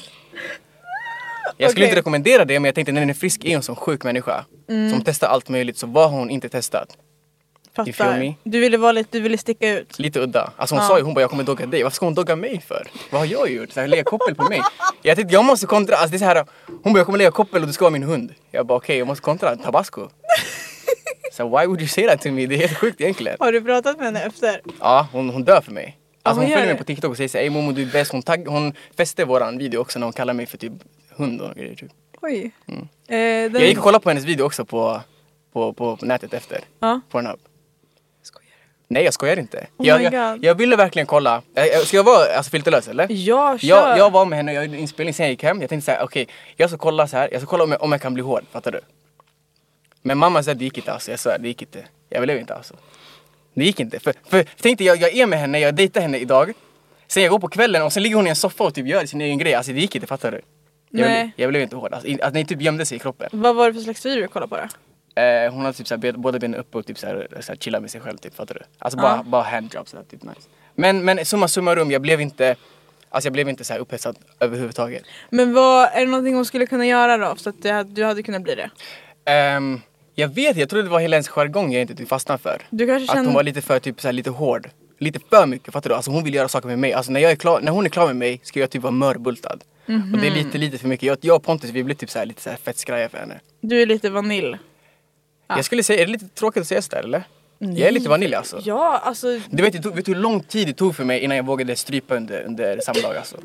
Jag skulle
Okej.
inte rekommendera det men jag tänkte när den är frisk är hon som sjuk människa. Som testar allt möjligt, så vad har hon inte testat? You feel
Fattar.
me?
Du ville vara lite, du ville sticka ut.
Lite udda. Alltså hon
Ja.
sa ju, hon bara jag kommer dogga dig. Varför ska hon dogga mig för? Vad har jag gjort? Så här, lägga koppel på
(laughs)
mig. Jag tänkte jag måste kontra. Alltså det är så här, hon bara jag kommer lägga koppel och du ska vara min hund. Jag bara okej jag måste kontra tabasco.
(laughs)
Så why would you say that to me? Det är helt sjukt egentligen.
Har du pratat med henne efter?
Ja hon, hon dör för mig. Alltså
hon
hon
gör
följer mig
det.
på TikTok och säger såhär, ey Momo du är bäst. Hon, tagg, hon fäste våran video också när hon kallar mig för typ hund och grejer typ.
Oj. Eh, den...
Jag gick och kollade på hennes video också på, på, på, på nätet efter.
Ja.
Pornhub.
Skojar du?
Nej jag skojar inte.
Oh
jag,
my
jag,
God.
jag ville verkligen kolla. Jag- jag- Ska jag vara alltså, filterlös eller?
Ja, kör!
Jag, jag var med henne och jag gjorde en inspelning sen jag gick hem. Jag tänkte så här, okej, jag ska kolla så här. Jag ska kolla om jag, om jag kan bli hård, fattar du? Men mamma sa det gick inte alltså. Jag svär, det gick inte. Jag blev inte alltså. Det gick inte. För, för tänk dig, jag, jag är med henne, jag dejtar henne idag. Sen jag går på kvällen och sen ligger hon i en soffa och typ gör sin egen grej. Alltså det gick inte, fattar du? Jag,
Nej.
Blev, jag blev inte hård. Alltså, in, alltså, ni typ gömde sig i kroppen.
Vad var det för slags video du kollade på då?
Eh, hon har typ såhär, båda benen uppe och typ såhär, såhär chilla med sig själv typ, fattar du? Alltså bara, bara handjobs sådär, typ nice. Men, men summa summarum, jag blev inte, alltså jag blev inte såhär upphetsad överhuvudtaget.
Men vad, är det någonting hon skulle kunna göra då? Så att det, du hade kunnat bli det?
Ehm, jag vet, jag trodde det var hela hennes jargong jag inte typ fastnade för.
Du kanske
Att
kände-
hon var lite för typ såhär, lite hård. Lite för mycket, fattar du? Alltså hon vill göra saker med mig. Alltså när, jag är klar, när hon är klar med mig ska jag typ vara mörbultad. Och det är lite, lite för mycket. Jag, jag och Pontus vi blev typ såhär, lite såhär fett skraja för henne.
Du är lite vanilj.
Jag skulle säga, är det lite tråkigt att säga sådär eller? Jag är lite vanilj alltså.
Ja, alltså
Du vet, det tog, vet du hur lång tid det tog för mig innan jag vågade strypa under, under samma dag alltså?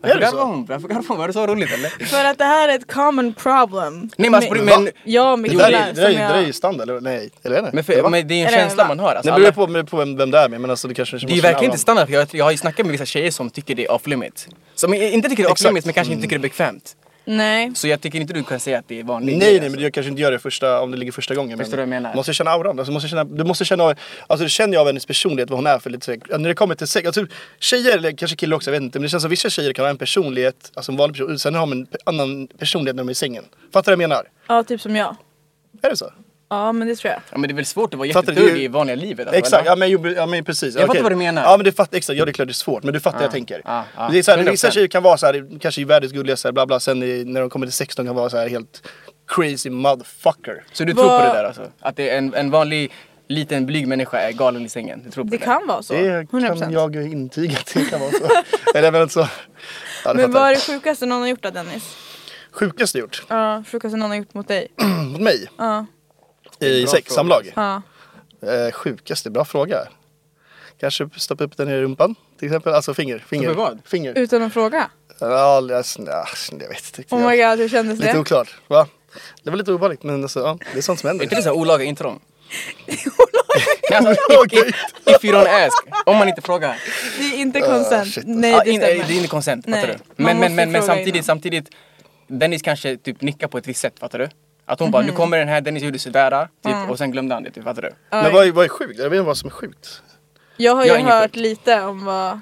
Varför
det så?
garvar hon? Varför garvar hon? Var det så roligt eller?
för att det här är ett common problem.
Nej men, alltså,
Med-
men,
Jag och
Det där
Mikaela
är det där är ju
som jag...
det där är ju standard, eller nej? Eller är det?
men,
Eller
för,
va?
men det är en
Eller,
känsla
va?
man har. Alltså,
det beror ju
alla,
på, med- på vem, vem det är med, men alltså det kanske
det är ju verkligen inte standard, för jag, jag har ju snackat med vissa tjejer som tycker det är off limit. Som i- inte tycker det är off
Exakt. Mm.
limit men kanske inte tycker det är bekvämt.
Nej.
Så jag tycker inte du kan säga att det alltså. är vanligt.
Nej, nej, men jag kanske inte gör det första, om det ligger första gången.
Förstår du vad jag menar?
Måste känna auran. Alltså, måste känna, du måste känna, alltså, det känner jag av hennes personlighet, vad hon är för lite så här- När det kommer till sex, alltså, tjejer, eller kanske killar också, jag vet inte. Men det känns som vissa tjejer kan ha en personlighet, alltså en vanlig person, sen har man en pe- annan personlighet när de är i sängen. Fattar du vad jag menar?
Ja, typ som jag.
Är det så?
Ja, men det tror jag.
Ja, men det är väl svårt att vara
Fattar du?
jättetugg i vanliga livet? Alltså,
Exakt, ja
eller?
men, jo, ja, men precis.
Jag fattar
Okej.
vad du menar.
Ja men du fattar, exakt, ja det är klart det är svårt men du fattar jag tänker.
ah, ah.
Det är så här, vissa
100%.
tjejer kan vara så här, kanske i världens gulligaste bla bla, sen i, när de kommer till 16 kan vara så här helt crazy motherfucker.
Så du tror
Vad-
på det där alltså? Att det är en, en vanlig liten blyg människa är galen i sängen? Du tror på
Det
det?
kan vara så.
Det
100%.
kan jag ju intyga att det kan
(laughs)
vara så. Eller men så. Ja, du
Men
fattar.
vad är det sjukaste någon har gjort då Dennis?
Sjukaste gjort (clears throat)
Ja, sjukaste någon har gjort mot dig?
mot mig
Ja.
i
bra
sexsamlag.
Ja.
Eh, sjukaste, bra fråga. Kanske stoppa upp den i rumpan till exempel, alltså finger. finger.
Stoppa vad?
Finger.
Utan att fråga?
Ja, alltså, nej, jag vet inte.
Oh my god, hur kändes
Lite
det?
oklart, va? Det var lite obehagligt men alltså, ja, det är sånt som
Är
händer.
inte det såhär olaga intrång?
(laughs)
Nej, alltså, if, if, if you don't ask, om man inte frågar.
(laughs) Det är inte konsent.
shit.
Nej,
Ah,
det
in, eh, det är
stämmer.
inte konsent, fattar
Nej,
du?
man
Men,
måste
men, men, men
fråga
samtidigt,
innan.
samtidigt, Dennis kanske typ nickar på ett visst sätt, fattar du? Att hon bara,
Mm.
nu kommer den här, Dennis gjorde sådär, typ, och sen glömde han det, typ, fattar du?
Men vad är, vad är sjukt? Jag vet inte vad som är sjukt.
Jag har ju
Jag har inget
hört
sjukt.
lite om vad...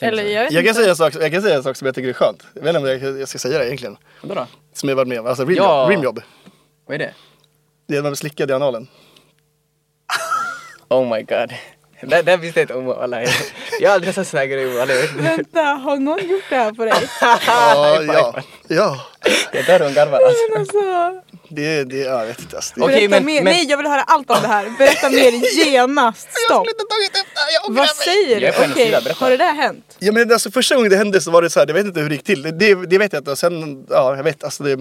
Tänk
Eller
så här.
jag vet
Jag kan,
inte.
säga en sak, jag kan säga en sak som jag tycker är skönt. Jag vet inte om jag, jag ska säga det egentligen.
Vadå då?
Som jag varit med om. Alltså rimjobb.
Ja.
rimjobb.
Vad är det?
Det är när man slickade i analen.
Oh my god. (laughs) Det där visste jag inte om, alla. Jag har aldrig testat såna här grejer, walla, jag vet
(laughs)
(laughs) inte.
Vänta, har någon gjort det här på dig?
(laughs)
Ja, ja. ja.
Det där hon garvar alltså.
Alltså,
Det, det, ja, jag vet inte. Alltså, det,
Okej,
berätta
men-
mer.
men-
Nej, jag vill höra allt om det
(laughs)
här. Berätta mer genast. Stopp. Vad säger
Jag är på
du?
hennes
Okej,
sida, berätta.
har det där hänt?
Ja, men alltså, första gången det hände så var det så här, jag vet inte hur det gick till. Det, det vet jag inte. Och sen, ja, jag vet, alltså det...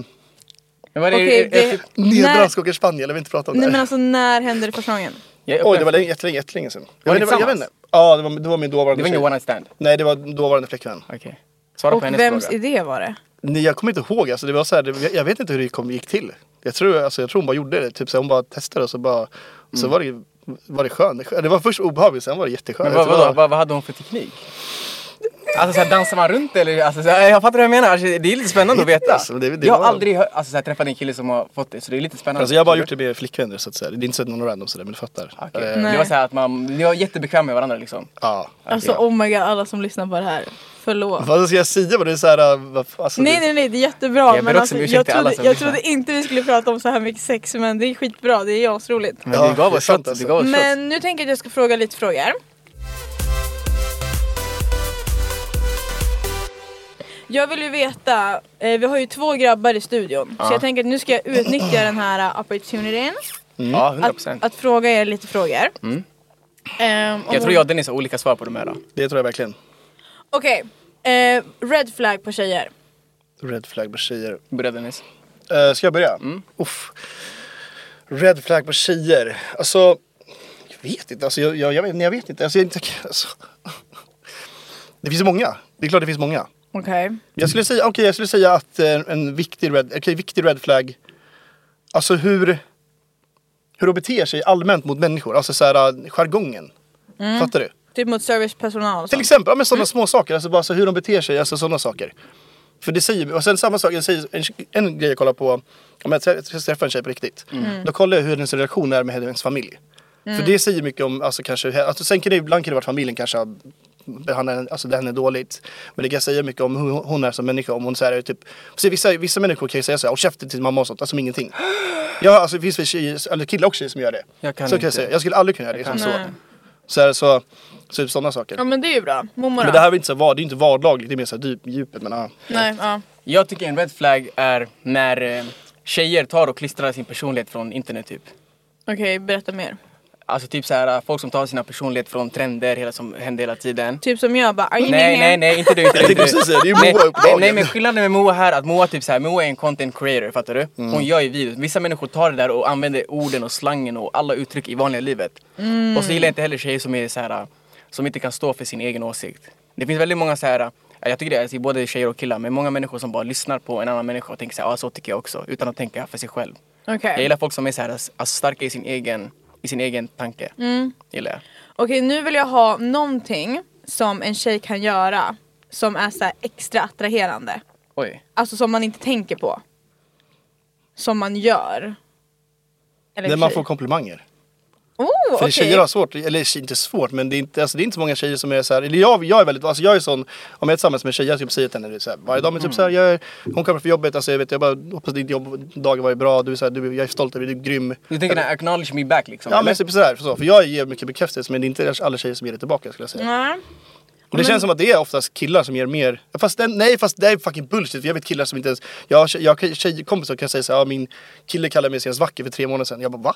Men vad är
Okej,
är- är
det-
typ-
När-
Nederländska åker Spanien, jag vill inte prata om det
Nej
här.
men alltså när hände det första gången?
jag är
Oj,
öppen
det var
för-
länge, jättelänge, jättelänge sedan.
Var
Jag
ni
vet, inte- jag vet inte.
tillsammans?
Ja, det var, det var min
Det
dåvarande
var ingen
tjej.
one night stand?
Nej, det var dåvarande flickvän.
Okej. Svara
Och
på hennes
vems
fråga.
idé var det?
Nej, jag kommer inte ihåg. Alltså, det var så här, det, jag- jag vet inte hur det kom, gick till. Jag tror, alltså, jag tror hon bara gjorde det. Typ, så här, hon bara testade och så bara... Så
Mm.
var det, var det skönt. Det var först obehagligt, sen var det jätteskönt.
Men vad,
Alltså,
vad,
bara-
vad, vad hade hon för teknik? Alltså såhär, dansar man runt eller? Alltså, såhär, jag fattar vad jag menar, alltså, det är lite spännande att veta.
(laughs) Alltså, det är väl det
jag har
man-
aldrig hör, alltså, såhär, träffat en kille som har fått det, så det är lite spännande.
Alltså jag har bara gjort det med flickvänner så att säga. Det är inte så att någon random sådär men du fattar.
Ah, Okej.
Eh,
Nej.
Det var såhär att man, vi var jättebekväma med varandra liksom.
ja.
Alltså oh my god alla som lyssnar på det här, förlåt.
Vad ska jag säga? Vad det är såhär, äh, vad- alltså,
Nej
det-
nej nej det är jättebra
Jag ber
men
också
alltså,
om ursäkt
jag,
till alla
trodde,
som
jag
lyssnar.
trodde inte vi skulle prata om så här mycket sex men det är skitbra, det är asroligt.
Men det
Ja,
gav
det är
oss
sant,
shots,
alltså.
det gav oss shots.
Men nu tänker jag att jag ska fråga lite frågor. Jag vill ju veta, eh, vi har ju två grabbar i studion. Så jag tänker att nu ska jag utnyttja den här eh, opportunityn
Mm.
Ja, 100%.
att, att fråga er lite frågor. Ehm, om-
Mm. jag tror jag och Dennis har olika svar på de här då.
Det tror jag verkligen.
Okej, eh, red flag på tjejer.
Red flag på tjejer.
Börja Dennis.
Eh, ska jag börja?
Mm.
Uff. Red flag på tjejer. Alltså, jag vet inte. Alltså, jag, jag, jag, vet, jag vet inte. Alltså, jag, är inte- (laughs) alltså. Det finns många. Det är klart det finns många.
Okej.
Jag skulle säga, okej jag skulle säga att eh, en viktig red, okej, viktig red flag, alltså hur, hur de beter sig allmänt mot människor, alltså så här, eh, jargongen. Fattar du?
Typ mot servicepersonal och
Till
sånt.
exempel, ja, men
Mm.
sådana små saker, alltså bara så hur de beter sig, alltså sådana saker. För det säger, och sen samma sak, jag säger, en, en grej jag kollar på, om jag trä- ska träffa en tjej på riktigt,
Mm.
då kollar jag hur hennes relation är med hennes familj. För det säger mycket om, alltså kanske, alltså, sen kan det ibland kan det vara att familjen kanske har behandlar henne- alltså, henne dåligt. Men det kan säga mycket om hur hon är som människa. Om hon så här, är typ, så vissa, vissa människor kan ju säga så här, håll käften till mamma och sånt, alltså som ingenting. Ja, alltså det finns väl tjejer, eller killar och tjejer som gör det.
Jag kan
så kan
inte.
jag säga, jag skulle aldrig kunna göra det. Liksom, så.
Nej.
Så, här, så, så typ sådana saker.
Mm. Ja men det är ju bra. Mormor
Men det här är väl inte så var, det är inte vardagligt, det är mer så här djup, djupet men ah. ja.
Nej, ja.
Jag tycker en red flag är när eh, tjejer tar och klistrar sin personlighet från internet typ.
Okej, berätta mer.
Alltså typ såhär, folk som tar sina personlighet från trender hela, som händer hela tiden.
Typ som jag bara... "Aj,
Nej, nej, nej, inte
(laughs)
du. Inte du,
Jag
inte
tänkte
du.
precis säga det, det är
nej,
Moa uppe på
nej,
dagen.
nej, men skillnaden med Moa här, att Moa, typ så här, Moa är en content creator, fattar du?
Mm.
Hon gör ju videos. Vissa människor tar det där och använder orden och slangen och alla uttryck i vanliga livet. Och så gillar jag inte heller tjejer som är så här, som inte kan stå för sin egen åsikt. Det finns väldigt många så här, jag tycker det är alltså, både tjejer och killar, men många människor som bara lyssnar på en annan människa och tänker så här, ja så tycker jag också, utan att tänka för sig själv.
Okej.
Jag gillar folk som är så här, alltså, starka i sin egen, i sin egen tanke. Gillar jag.
Okej, nu vill jag ha någonting som en tjej kan göra som är så här extra attraherande.
Oj.
Alltså som man inte tänker på. Som man gör. Eller
När man
tjej.
får komplimanger.
Oh,
För
okej.
tjejer har svårt, eller inte svårt men det är inte, alltså, det är inte så många tjejer som är så här, eller jag, jag är väldigt, alltså jag är sån, om jag är tillsammans med en tjej, jag typ säger till henne det så här, varje dag men typ så här, jag, är- hon kommer från jobbet, alltså jag vet, jag bara hoppas din jobb, dagen var bra, du är så här, du, jag är stolt över dig, du är grym.
Du tänker den här acknowledge me back liksom?
Ja
eller?
men typ så här, så, för jag ger mycket bekräftelse men det är inte alla tjejer som ger det tillbaka skulle jag säga.
Nej.
Och det känns som att det är oftast killar som ger mer. Fast den, nej, fast det är fucking bullshit. För jag vet killar som inte ens... Jag har tjej- jag, har tjejkompisar som kan säga så här, ja, min kille kallade mig senast vacker för tre månader sedan. Jag bara va?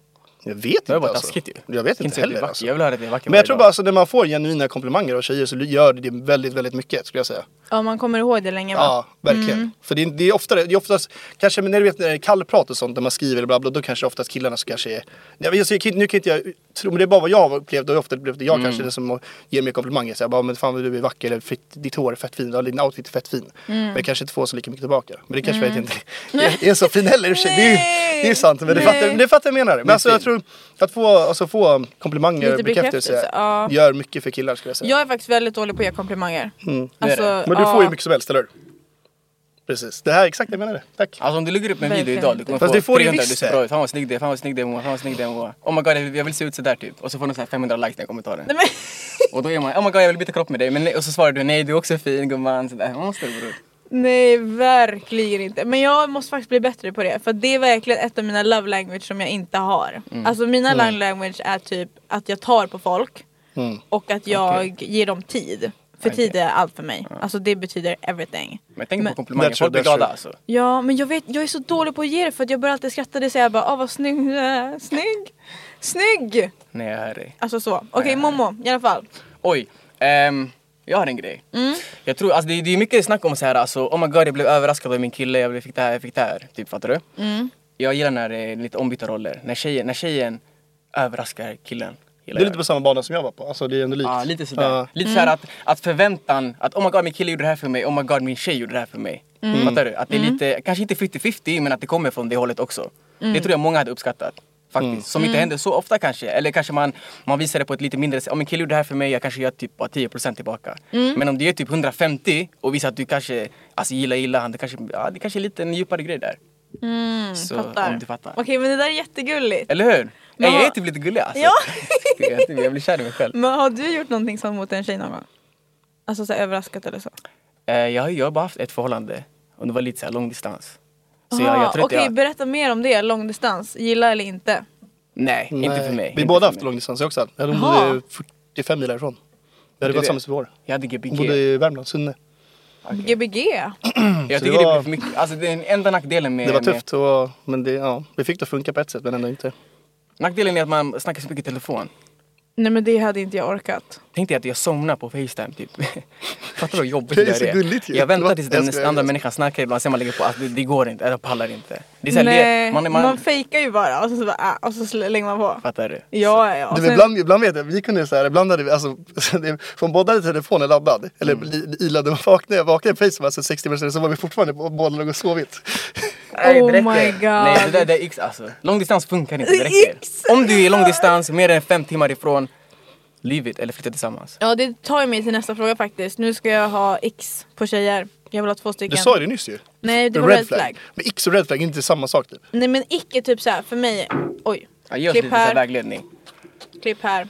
Jag vet inte
Det var bara
alltså.
taskigt ju.
Jag vet
Kan
inte
säga att det är
heller
vacker.
alltså.
Jag vill höra att det är vacker
Men jag tror bara alltså, när man får genuina komplimanger av tjejer så gör det väldigt, väldigt mycket skulle jag säga.
Ja man kommer ihåg det länge va? Mm.
Ja, verkligen. För det är, det, är oftare, det är oftast, kanske men när du vet när det är kallprat och sånt, när man skriver eller bla bla, då kanske oftast killarna som kanske är, jag, jag, jag, nu kan inte jag tro, men det är bara vad jag har upplevd och ofta upplevt det
Mm.
jag kanske är den som ger mig komplimanger. Så jag bara, men fan vad du är vacker, eller "Fitt, ditt hår är fett fint, eller din outfit är fett
Mm.
fin. Men jag kanske inte får så lika mycket tillbaka. Men det
(laughs)
kanske mm. inte är så fin heller i och för sig. Det är ju- det är sant, men det fattar, det fattar jag menar. Men alltså, jag tror att få, alltså, få komplimanger
Lite
och bekräftelse,
bekräftelse, ja.
gör mycket för killar skulle jag säga. Mm.
Jag är faktiskt väldigt dålig på att ge komplimanger.
det är
Alltså,
det.
Men du
ja.
får ju mycket som helst, eller hur? Precis, det här är exakt det jag menade. Tack.
Alltså om du lägger upp en video
Verkligen
idag, du kommer
Fast
få
det får du
300
visst
du ser
det.
bra ut. Fan vad snygg du är, fan vad snygg du är Moa, fan vad snygg du är Moa. Oh my god, jag vill- jag vill se ut sådär typ. Och så får du så här 500 likes när kommentaren.
Nej, men,
Och då är man, oh my god jag vill byta kropp med dig. Men, nej- och så svarar du, nej du är också fin gumman. Sådär. Man måste bror.
nej verkligen inte. Men jag måste faktiskt bli bättre på det. För det är verkligen ett av mina love language som jag inte har.
Mm.
Alltså mina love language är typ att jag tar på folk
Mm.
och att jag ger dem tid. För tid är allt för mig. Alltså det betyder everything.
Men tänk
Men-
på komplimanger,
That's true,
folk blir
that's true.
glada alltså.
Ja men jag vet, jag är så dålig på att ge det för att jag börjar alltid skratta det säger jag bara åh vad snygg du är, snygg, snygg!
Nej jag hör dig.
Alltså så. Okej Momo, i alla fall.
Oj, ehm, jag har en grej. Jag tror, alltså, det, det är mycket snack om så här, alltså, oh my god jag blev överraskad av min kille, jag blev- fick det här, jag fick det här. Typ, fattar du? Jag gillar när det är lite ombytta roller. När tjejen, när tjejen överraskar killen.
Du är lite på samma bana som jag var på. Alltså det är ändå likt.
Ja, lite sådär.
Ja.
Lite såhär att, att förväntan, att oh my god min kille gjorde det här för mig, oh my god min tjej gjorde det här för mig.
Mm.
Fattar du? Att det är lite, kanske inte 50-50 men att det kommer från det hållet också. Det
Mm.
tror jag många hade uppskattat. Faktiskt. Som inte händer så ofta kanske. Eller kanske man, man visar det på ett lite mindre sätt. Om min kille gjorde det här för mig, jag kanske gör typ bara 10% tillbaka.
Mm.
Men om du gör typ 150 och visar att du kanske alltså, gillar, gillar han. Det kanske, ja, det kanske är lite en djupare grej där. så,
Mm, Fattar.
om du fattar.
Okej men det där är jättegulligt.
Eller hur?
Men
Nej, jag
vad-
är typ lite gullig alltså.
Ja.
(laughs) jag, typ- jag blir kär i mig själv.
Men har du gjort någonting sånt mot en tjej någon gång? Alltså så här, överraskat eller så?
Eh, jag, har- jag har bara haft ett förhållande och det var lite så här lång distans. Så jag,
Aha,
jag tror inte
Okej
jag...
berätta mer om det, långdistans, gilla eller inte?
Nej, inte
Nej.
för mig.
Vi
inte
båda
för
haft
mig.
långdistans jag också. Jag
Jaha.
bodde 45 mil härifrån. Vi hade
Det är
varit
det.
tillsammans i år.
Jag hade
Hon
GBG.
bodde i Värmland, Sunne.
Gbg?
Jag
Så
tycker
det
det,
var-
blir för mycket. Alltså det är den enda nackdelen med...
Det var
med-
tufft. Och, men det, ja, vi fick det att funka på ett sätt men ändå inte.
Nackdelen är att man snackar så mycket i telefon.
Nej men det hade inte jag orkat.
Tänk dig att jag somnar på Facetime typ. (laughs) Fattar du vad jobbigt
Det
det
är
där är?
så gulligt ju.
jag väntar tills den
Jag skojar, jag
andra
skojar.
människan snackar ibland, sen man lägger på. Alltså, det, det går inte, jag pallar inte. Det är så här,
Nej,
det,
man,
man, man,
fejkar ju bara och så, så, bara, äh, och så slänger man på.
Fattar du?
Ja ja, ja. Och
Du,
sen-
ibland, ibland vet jag, vi kunde så här, ibland hade vi, alltså, (laughs) det- från båda hade telefonen laddad, eller
Mm.
li- ilad, och vaknade jag vaknade på Facebook, alltså 60 minuter senare så var vi fortfarande på båda låg
(laughs)
och sovit.
Nej,
Oh
det
my
räcker.
god.
Nej, det där det är x alltså. Långdistans funkar inte, det räcker.
X.
Om du är långdistans, mer än fem timmar ifrån, leave it eller flytta tillsammans.
Ja det tar ju mig till nästa fråga faktiskt. Nu ska jag ha X på tjejer. Jag vill ha två stycken.
Du sa ju det nyss ju.
Nej det var red flag.
Men X och red flag är inte samma sak typ.
Nej men icke typ såhär för mig. Oj.
Ja, ge oss
Klipp
lite så här
här.
vägledning.
Klipp här.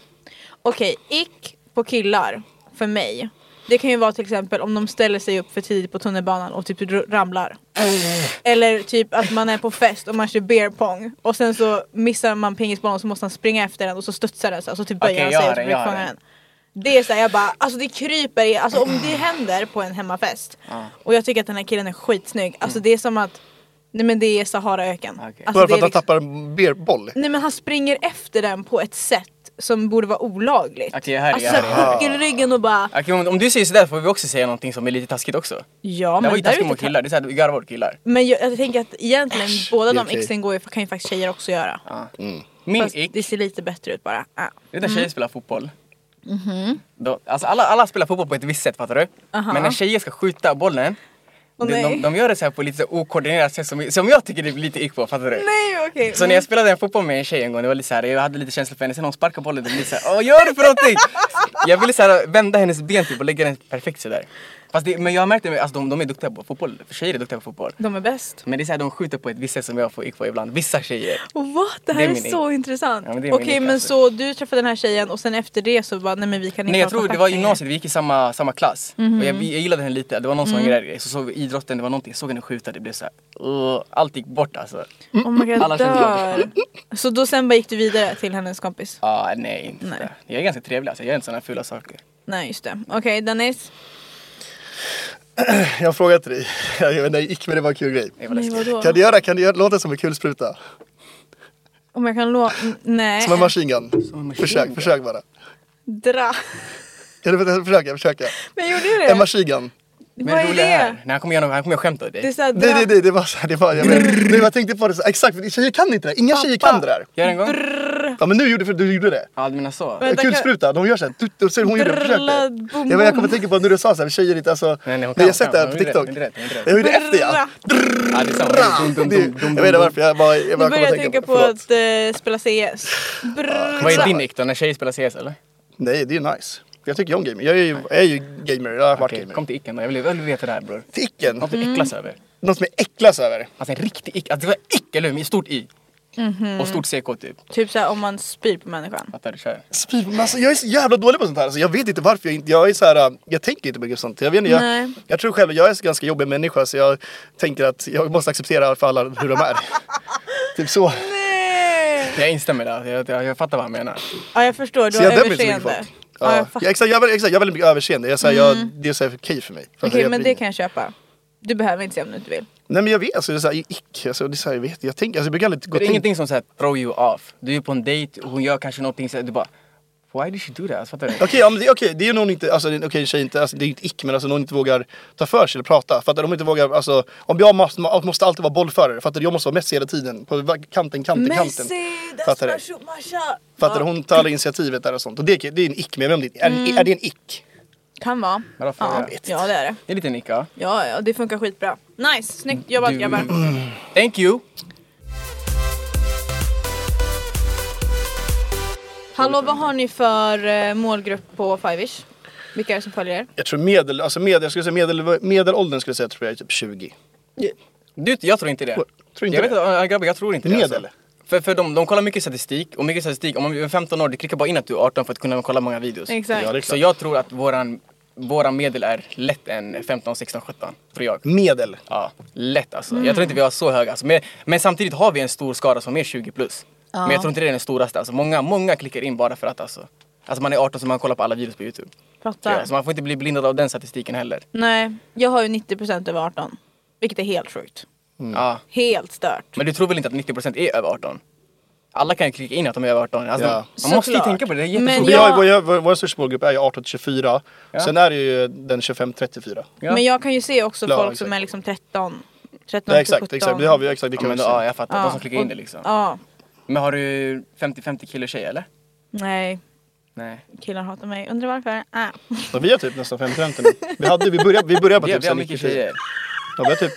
Okej, ick på killar för mig. Det kan ju vara till exempel om de ställer sig upp för tidigt på tunnelbanan och typ r- ramlar. Eller typ att man är på fest och man kör beer pong och sen så missar man pingisbollen och så måste han springa efter den och så studsar den så, här, så typ böjer
Okej,
han
jag
sig
har
och så
den,
försöker
jag har
fånga den.
den.
Det är såhär jag bara, alltså det kryper i, alltså om det händer på en hemmafest och jag tycker att den här killen är skitsnygg, alltså det är som att Nej men det är Saharaöken.
Okej.
Alltså,
Bara
det
för
är
att han
liksom-
tappar en beerboll.
Nej men han springer efter den på ett sätt som borde vara olagligt.
Okej, jag hör dig,
alltså
jag hör dig, jag hör dig.
puckelryggen och bara
Okej, om, om du säger sådär får vi också säga någonting som är lite taskigt också.
ja
det var
men
ju
där är
taskigt
inte
mot
ta-
killar, det är såhär, vi garvar åt killar.
Men jag, jag tänker att egentligen båda
det är
de
okej.
exen går ju, kan ju faktiskt tjejer också göra.
Min
Fast
ick,
det ser lite bättre ut bara. Ah.
det är när tjejer spelar fotboll.
Mhm.
Då, alltså alla, alla spelar fotboll på ett visst sätt fattar du? Men när tjejer ska skjuta bollen,
Åh,
de,
nej.
de, de gör det så här på lite så här okoordinerat sätt som, som jag tycker det blir lite ick på, fattar du?
(laughs) Nej okej.
Så när jag spelade en fotboll med en tjej en gång, det var lite så här, jag hade lite känslor för henne, sen hon sparkade bollen och det blev så här, vad gör du för någonting? Jag ville så här, vända hennes ben typ och lägga den perfekt sådär. Fast det, men jag har märkt att alltså, de, de är duktiga på fotboll, tjejer är duktiga på fotboll.
De är bäst.
Men det är så här, de skjuter på ett visst sätt som jag får ick på ibland, vissa tjejer.
What? Det här
Det är
är,
min ick.
så intressant.
Ja, men det
Okej
är min ick,
men
alltså.
så du träffade den här tjejen och sen efter det så bara nej men vi kan inte
Nej jag
ha
tror det
kontakt
var
längre.
gymnasiet, vi gick i samma, samma klass.
Mhm.
Och jag, jag gillade henne lite, det var någon som
Mm.
grejade grej. Så såg vi idrotten, det var någonting, jag såg henne skjuta, det blev så här, "Åh", allt gick bort alltså.
Oh my god,
Alla
jag
kände
dör. Så då sen bara gick du vidare till hennes kompis?
Ah, nej, inte
Nej.
nej. Jag är ganska trevlig alltså, jag gör inte sådana fula saker.
Nej just det. Okej Dennis.
(laughs) Jag frågade dig, (laughs) jag vet inte, jag gick men det var en kul grej.
Det var
Nej
läskigt.
vadå? Eh,
Kan du göra, kan du göra, låta som en kulspruta?
Om jag kan låna... Nej.
Som en machine gun.
Som en machine
Försök,
gun.
försök bara.
Dra. (laughs)
Kan du försöka, försöka?
Men gjorde du
En
det?
machine gun.
Vad
Men det
är
roliga är,
det?
när han kommer göra något, han kommer göra skämt åt
Det är
dig.
såhär
Nej, nej,
dra.
nej, det var så här, det var, jag, vet. nej, jag tänkte på det så, exakt, för tjejer kan inte det här. Inga tjejer kan det där.
Gör en gång.
Ja men nu gjorde för, du gjorde det.
Ja du menar så.
Men- Vänta,
Kulspruta, de gör såhär, du, du, ser hon gjorde det, försök
Drrrla,
det.
bom,
Jag, men jag kommer
bom.
tänka på när du sa såhär, tjejer inte alltså.
Nej, nej, hon
jag
kan,
har sett det här
hon
på
kan.
TikTok.
Hon gjorde rätt, hon gjorde rätt.
Jag gjorde efter ja.
Drrrla.
Ja det är samma. Dum, dum,
Det, jag
dum,
vet
dum,
inte
dum.
varför, jag bara, jag
Nu
bara kommer
börjar
att
jag
tänka
tänka
på
på
det.
att
Förlåt.
eh, spela CS.
Vad är
Brrrra.
din nick då när tjejer spelar CS eller?
Nej, det är nice. Jag tycker ju om gamer. Jag är ju, jag är ju gamer, jag har varit
Okej,
gamer.
kom till icken då. Jag vill, jag vill veta det här bror.
Ticken!
Något att äcklas över.
något som jag äcklas över.
Alltså en riktig ick. Alltså det var ickelum i stort i. Och stort CK typ.
Typ såhär om man spyr på människan.
Fattar du? Kör.
Spyr på massa- Jag är så jävla dålig på sånt här. Alltså, jag vet inte varför jag inte... Jag är så här, äh, jag tänker inte mycket sånt. Jag, vet inte, jag,
Nej.
jag tror själv, jag är en ganska jobbig människa så jag tänker att jag måste acceptera för alla hur
(laughs)
de är. typ så.
Jag instämmer där. Jag, jag, jag fattar vad han menar.
Ja jag förstår, du
Så
har
jag dömer inte så mycket
överseende.
folk.
Ja,
Ja.
jag
Ja,
fattar. Mm.
exakt, jag har väldigt- exakt, jag har väldigt mycket överseende. Jag, är så här, jag, det är så här okej för mig. För att
Okej
jag
men
blir-
det kan jag köpa. Du behöver inte säga om du inte vill.
Nej men jag vet, alltså, det är så här, ick. Alltså, det är så här, jag, vet, jag, tänker, alltså, jag brukar aldrig gå
Det
och
är
tänka.
ingenting som såhär throw you off. Du är på en dejt och hon gör kanske någonting såhär, du bara Why did she do that? Alltså, Fattar du?
Okej, ja, men det, okej, det är någon inte, alltså det är okej en tjej inte, alltså, det är ju ett ick men alltså någon inte vågar ta för sig eller prata. Fattar du? De inte vågar, alltså om jag måste, måste alltid vara bollförare, fattar du? Jag måste vara Messi hela tiden, på va- kanten, kanten, kanten. Fattar du?
Masha.
Fattar du? Hon tar aldrig initiativet där och sånt. Och det, det är en ick, men jag vet inte, är,
Mm.
är det en ick?
Kan vara.
Bra
Ja,
fråga.
ja det är det.
Det är lite nicka.
Ja, ja det funkar skitbra. Nice, snyggt jobbat
Du-
grabbar.
Thank you!
Hallå vad har ni för eh, målgrupp på Fiveish? Vilka är det som följer er?
Jag tror medel, alltså medel, jag skulle säga medel, medelåldern skulle jag säga tror jag är typ 20.
Du, jag tror inte det.
Tror inte
jag
det?
vet inte, äh, grabbar jag tror inte det. alltså.
Medel?
För, för de, de kollar mycket statistik och mycket statistik, om man är 15 år, du klickar bara in att du är 18 för att kunna kolla många videos.
Exakt.
Ja, det är
Så
klart.
jag tror att våran, våran medel är lätt en 15, 16, 17. Tror jag.
Medel.
Ja, lätt alltså. Jag tror inte vi har så höga. Alltså. Men, men samtidigt har vi en stor skara som är 20 plus. Men jag tror inte det är den storaste. Alltså. Många, många klickar in bara för att alltså. Alltså man är 18 så man kollar på alla videos på Youtube.
Fattar.
Ja, så man får inte bli blindad av den statistiken heller.
Nej, jag har ju 90% över 18. Vilket är helt sjukt.
Mm.
Ja.
Helt stört.
Men du tror väl inte att 90% är över 18? Alla kan ju klicka in att de är över 18. Alltså,
Ja.
Man måste ju
Såklart.
tänka på det, det är
Men
jättesvårt.
Vi har,
jag-
vår, vår, vår största målgrupp är ju 18 till 24. Sen är det ju den 25 34.
Ja.
Men jag kan ju se också
Ja,
folk
exakt.
som är liksom 13, 13
Ja,
till
exakt,
17.
exakt. Det har vi exakt. Det
Ja,
kan
men,
vi
då,
se.
ja, jag fattar,
Ja.
de som klickar in det liksom.
Ja,
Men har du 50-50 kille tjej eller?
nej.
Nej.
Killar hatar mig. Undrar varför? Ah.
Ja, vi har typ nästan 50-50 nu. Vi, hade, vi började, vi
(laughs)
började på
Vi,
typ
vi har mycket tjejer.
Ja, vi har typ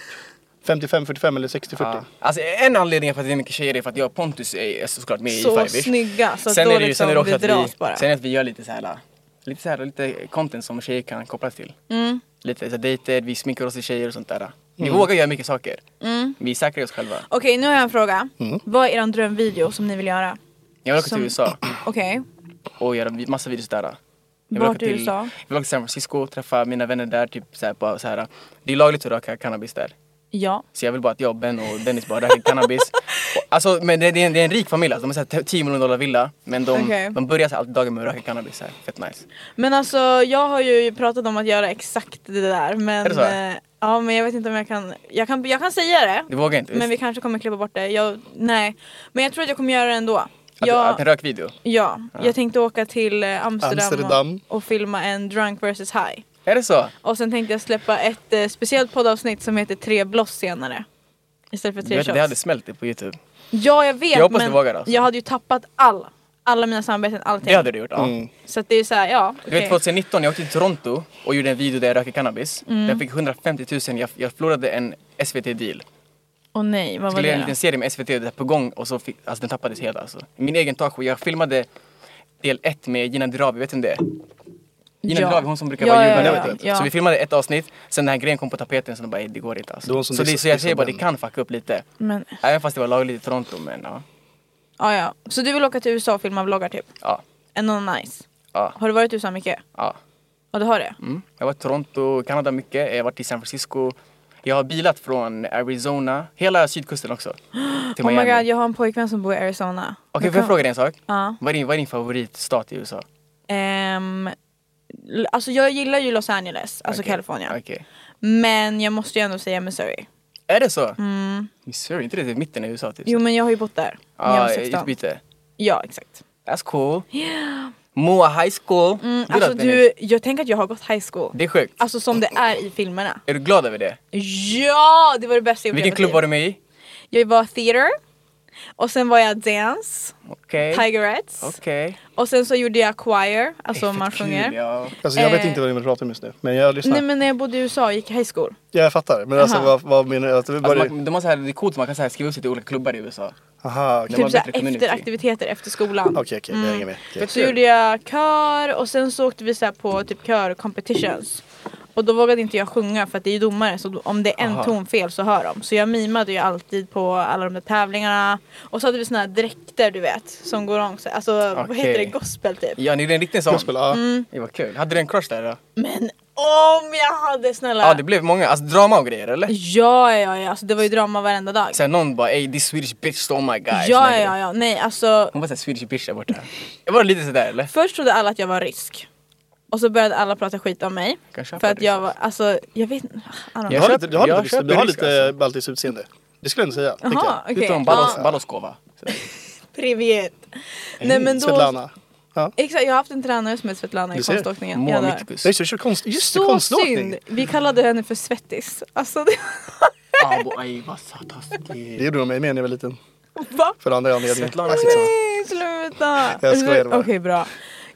55-45 eller 60-40.
Ja. Alltså en anledning för att det är mycket tjejer är för att jag och Pontus är är såklart med i
Så
Five Ish.
snygga. Så att
Sen
då
är det ju
liksom
sen är det också att
vi dras
vi,
bara.
sen är det att vi gör lite så här, lite så här, lite content som tjejer kan kopplas till.
Mm.
Lite så här, dejter, vi sminkar oss till tjejer och sånt där. Vi vågar göra mycket saker.
Mm.
Vi är säkra i oss själva.
Okej, nu har jag en fråga.
Mm.
Vad är er drömvideo som ni vill göra?
Jag vill åka
Som-
till USA
Okej,
och göra vi- massa videos där. Jag vill
Vart
åka
i USA?
Jag vill åka till San Francisco och träffa mina vänner där. Typ så här, bara så här, det är lagligt att röka cannabis där.
ja.
Så jag vill bara att jag, och Ben och Dennis bara röker cannabis.
(laughs)
Och, alltså, men det, det, är en, det är en rik familj, alltså. de har så här 10 miljoner dollar villa. Men de,
Okej.
de börjar så här, alltid dagen med att röka cannabis. Så här. Fett nice.
Men alltså jag har ju pratat om att göra exakt det där men...
Är det så?
eh, Ja men jag vet inte om jag kan... Jag kan, jag kan säga det.
Du vågar inte?
Men
visst?
vi kanske kommer klippa bort det. Jag, nej. Men jag tror att jag kommer göra det ändå.
Att,
jag,
att en rökvideo?
ja, jag tänkte åka till eh, Amsterdam,
Amsterdam.
Och, och filma en drunk versus high.
Är det så?
Och sen tänkte jag släppa ett eh, speciellt poddavsnitt som heter Tre bloss senare. Istället för
Du
tre
vet, att det hade
shots.
smält det på youtube.
Ja jag vet
Jag hoppas
men
du vågar, alltså.
jag hade ju tappat all, alla mina samarbeten, allting.
Det hade du gjort ja.
Så att det är såhär, ja.
Du vet
Mm. okej.
2019 jag åkte till Toronto och gjorde en video där jag röker cannabis.
Mm.
Jag fick 150 000, jag, jag förlorade en SVT-deal.
Åh nej, vad var
skulle
det
göra en
då?
liten serie med SVT där på gång och så fick, alltså den tappades helt alltså. Min egen talkshow, jag filmade del ett med Gina Dirawi, vet du vem det är? Gina
Ja.
Dirawi, hon som brukar
Ja,
vara
ja,
juryn.
ja,
vet du.
ja.
Så vi filmade ett avsnitt, sen den här grejen kom på tapeten så de bara, "Ey, det går inte
Det var
alltså.
hon som
Så, det,
dissade-
så jag
dissade
säger bara, det
den.
kan fucka upp lite.
Men,
Även fast det var lagligt i Toronto men ja.
ja, ja. Så du vill åka till USA och filma vloggar typ?
Ja.
Ändå nice.
Ja.
Har du varit i USA mycket?
ja.
Ja du har det?
Mm. Jag har varit i Toronto, Kanada mycket, jag har varit i San Francisco. Jag har bilat från Arizona, hela sydkusten också.
(gasps)
Till
Oh my
Miami.
god
Okej,
jag har en pojkvän som bor i Arizona.
får jag fråga dig en sak?
Ja. Alltså,
Vad, är din, vad är din favoritstat i USA?
Ehm, l- alltså jag gillar ju Los Angeles, alltså
Okej.
Kalifornien.
Okej.
Men jag måste ju ändå säga Missouri.
Är det så? Missouri, inte det typ mitten i USA typ?
Mm. Jo men jag har ju bott där. när jag
ah,
var 16.
utbyte.
Ja exakt. (gasps)
That's cool. Moa High School.
Mm,
Good
alltså
att den är-
du, jag tänker att jag har gått high school.
Det är sjukt.
Alltså som det är i filmerna.
Är du glad över det?
Ja! Det var det bästa jag gjort i
Vilken
hela
klubb var
tiden.
du med i?
Jag var theater. Och sen var jag dance,
Okej.
tigerettes.
Okej.
Och sen så gjorde jag choir, alltså
Fett
man
kul,
sjunger.
ja.
Alltså jag vet
Eh.
inte vad ni vill prata om just nu, men jag lyssnar.
Nej men när jag bodde i USA och gick i high school.
Ja, jag fattar. Men alltså
Aha.
vad, vad menar du? Att det
Alltså,
bara...
man, de har så här, det är coolt, man kan så här skriva upp sig till olika klubbar i USA.
Aha,
Det var
okej.
typ Mm. såhär
bättre community.
efter aktiviteter efter skolan.
Okej, okej. Jag hänger med. Okej.
Så gjorde jag kör och sen så åkte vi så här på typ körcompetitions. Och då vågade inte jag sjunga för att det är ju domare så om det är en
Aha.
ton fel så hör de. Så jag mimade ju alltid på alla de där tävlingarna. Och så hade vi såna här dräkter du vet som går om sig. Alltså vad
Okej.
heter det? Gospel typ.
Ja, ni är en riktig sån.
Gospel, ja.
Mm.
Det var kul. Hade du en crush där då?
Men om jag hade snälla.
Ja, det blev många. Alltså drama och grejer eller?
Ja, ja, ja. Alltså det var ju drama varenda dag.
Sen någon bara ey this Swedish bitch stole my guy. Såna
Ja,
grejer.
ja, ja. Nej, alltså.
Hon var såhär Swedish bitch där borta. Jag var lite sådär eller?
Först trodde alla att jag var rysk. Och så började alla prata skit om mig.
Kanske
För
han
att jag var, alltså, jag vet inte. I don't
Du
know.
Jag
har
köper-
lite, du har
jag
lite,
köper
du har
risk,
lite
alltså.
baltiskt utseende. Det skulle jag inte säga. tänker
Jaha,
jag.
okej.
Utom Balos,
Ja,
Baloskova. Sådär.
Privet. Nej men då.
Mm. Svetlana. Ja.
Exakt, jag har haft en tränare som heter Svetlana i
Du ser.
konståkningen.
Moa
Jag dör.
Mitkus.
Just det, kör konst, just det,
Så
konståkning.
synd! Vi kallade henne för Svettis. Alltså, det, (laughs)
Abo ey vad så
Det
taskigt.
gjorde de med mig när jag var liten.
va?
För andra Alltså, anledningar.
Svetlana.
Nej, skitsamma.
Nej, sluta!
Jag skojar bara.
Okej, bra.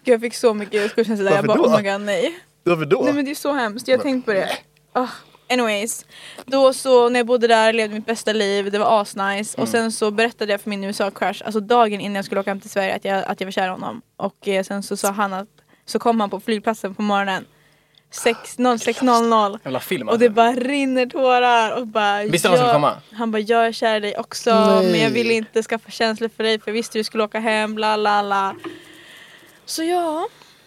Gud, jag fick så mycket skuldkänslor där. Jag bara,
Varför
oh
då?
my god, nej.
Varför då?
Nej men det är så hemskt, jag har tänkt på det. Ah, anyways, då så när jag bodde där levde mitt bästa liv, det var asnice
Mm.
och sen så berättade jag för min USA-crush, alltså dagen innan jag skulle åka hem till Sverige att jag, att jag var kär i honom och eh, sen så sa han att, så kom han på flygplatsen på morgonen 06.00
Jävla film
och det
alltså.
bara rinner tårar och bara
Visste han
"Jag-"
skulle komma?
Han bara jag är kär i dig också men jag ville inte skaffa känslor för dig för jag visste du skulle åka hem bla bla bla Så ja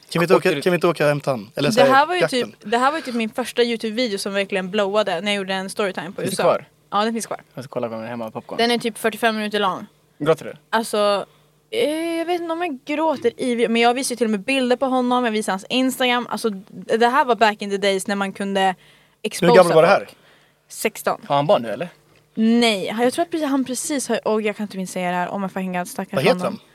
Kan vi inte åka, kan vi inte åka och hämta han? Eller så
det här, var ju
jakten.
typ, det här var ju typ min första Youtube-video som verkligen blowade när jag gjorde en storytime på
Finns
USA.
det kvar?
Ja, den finns kvar.
Jag ska kolla på den hemma och popcorn.
Den är typ 45 minuter lång.
Gråter du?
Alltså, eh, jag vet inte om jag gråter i videon, men jag visade ju till och med bilder på honom, jag visade hans Instagram. Alltså, d- det här var back in the days när man kunde exposa
Hur gammal var det här?
folk. 16.
Har han barn nu eller?
Nej, jag tror att precis- han precis har... Åh, jag kan inte minst säga det här. Oh my fucking god, stackars
Vad heter
honom.
han?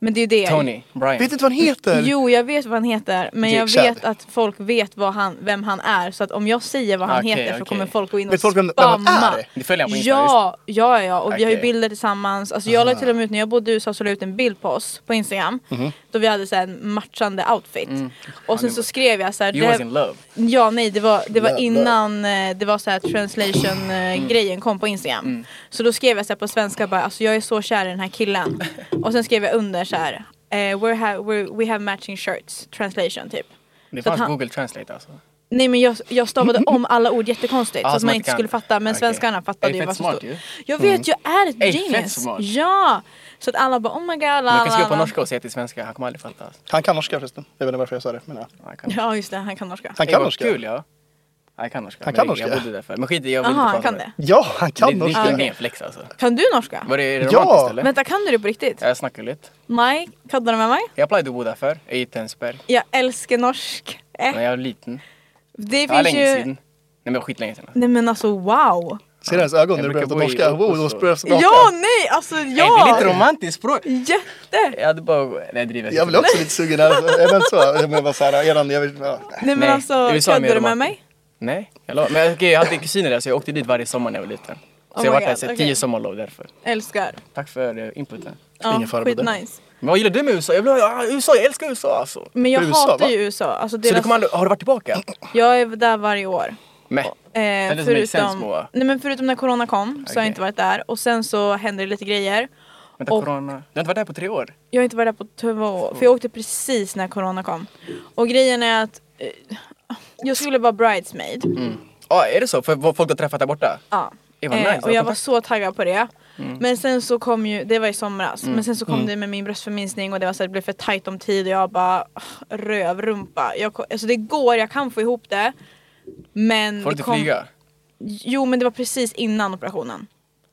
Men det är ju det.
Tony, Brian.
Vet inte vad han heter?
Jo, jag vet vad han heter, men
Jake
jag
Chad.
vet att folk vet vad han, vem han är. Så att om jag säger vad han
Okej,
heter så
okej.
kommer folk gå in och
Vet folk vem- vem
spamma.
han är?
Du följer han på Instagram?
Ja, ja, ja. Och vi har ju
Okej.
bilder tillsammans. Alltså jag la till och med ut, när jag bodde i USA så la jag ut en bild på oss på Instagram.
Mhm.
Då vi hade så här en matchande outfit. Och sen så skrev jag så här.
Mm. You was
Det,
in love.
ja, nej, det var, det var
Jävlar.
innan eh, det var så här
Mm.
translation-grejen kom på Instagram. Så då skrev jag så här på svenska bara, alltså jag är så kär i den här killen. Och sen skrev jag under så här. eh, we're ha- we're, we have matching shirts, translation typ.
Det
Så att
fanns
han-
google translate alltså.
Nej men jag, jag stavade om alla ord jättekonstigt
Ja,
så att
som
man
man
inte
Ah, kan- Ah,
skulle fatta men
Okej.
svenskarna
Är
fattade
det
ju
fett
vad som
smart
stod.
ju? Mm.
Jag vet, jag är ett
Är det fett
genius!
smart?
Ja! Så att alla bara oh my god, la,
Men jag kan
la,
skriva på
la.
norska och säga till svenska, han kommer aldrig fatta. Alltså.
Han kan norska förresten. Jag vet inte varför jag sa det. Men ja.
Han kan,
Ja just det, han kan norska.
Han
Ey,
kan
vad
norska.
Kul ja. Han kan norska.
Han
Men
kan
jag- Jag
norska.
bodde där förr. Men skit i, jag
Jaha,
vill inte
han
prata
kan
om
det.
Ja, han kan
Det är
norska.
riktigt ren flex alltså.
Kan du norska?
Var det
Ja!
romantiskt eller?
Vänta kan du det på riktigt?
Jag snackar lite.
Nej, kan du det med mig?
Jag plöjde att bo där förr, i Tensberg.
Jag älskar norsk. Eh.
När jag var liten.
Det
Det var
finns
länge sedan.
ju...
Nej men det var skitlänge sedan.
Nej men alltså wow!
Ser du hans ögon när
Jag
du börjar
brukar
prata
bo i
norska? Wow, de
Oslo.
spöar sig
Ja nej alltså
Ey, det är lite
ja!
romantiskt språk.
Jätte!
Jag hade bara... Nej jag driver.
Jag blir också lite sugen. här. Är den så? Jag menar bara så här, eran, jag vill, ja.
Nej men
Nej,
alltså
USA är
kan
mer
du det med
romantiskt.
mig?
Nej, jag lovar. Men okej, jag hade kusiner där så jag åkte dit varje sommar när jag var liten. Så
Oh
jag
my
var där
God,
så här,
okej.
tio sommarlov därför.
Älskar.
Tack för eh, inputen.
Ja,
Ingen fara på det.
skitnice.
Men vad gillar du med USA? Jag, vill, ha- USA, jag älskar USA alltså.
Men jag
USA,
hatar
va?
ju USA. Alltså
Så du
deras...
kommer aldrig, har du
(clears throat)
varit tillbaka?
Jag är där varje år.
Nej.
Eh,
doesn't make sense,
förutom,
Moa.
nej, men förutom när corona kom så har jag
Okej.
inte varit där och sen så hände det lite grejer.
Vänta,
Och-
corona. Du har inte varit där på tre år?
Jag har inte varit där på två år för jag åkte precis när corona kom. Och grejen är att eh, jag skulle vara bridesmaid.
Ja, är det så? För vad folk du har träffat där borta?
Ja.
Det var
Eh,
nice. Mm.
och jag var så taggad på det. Men sen så kom ju, det var i somras, men sen så kom det med min bröstförminskning och det var så här, det blev för tajt om tid och jag bara "Åh, rövrumpa. Jag, ko- alltså det går, jag kan få ihop det. Men
Får
det
du inte
kom,
flyga?
Jo men det var precis innan operationen.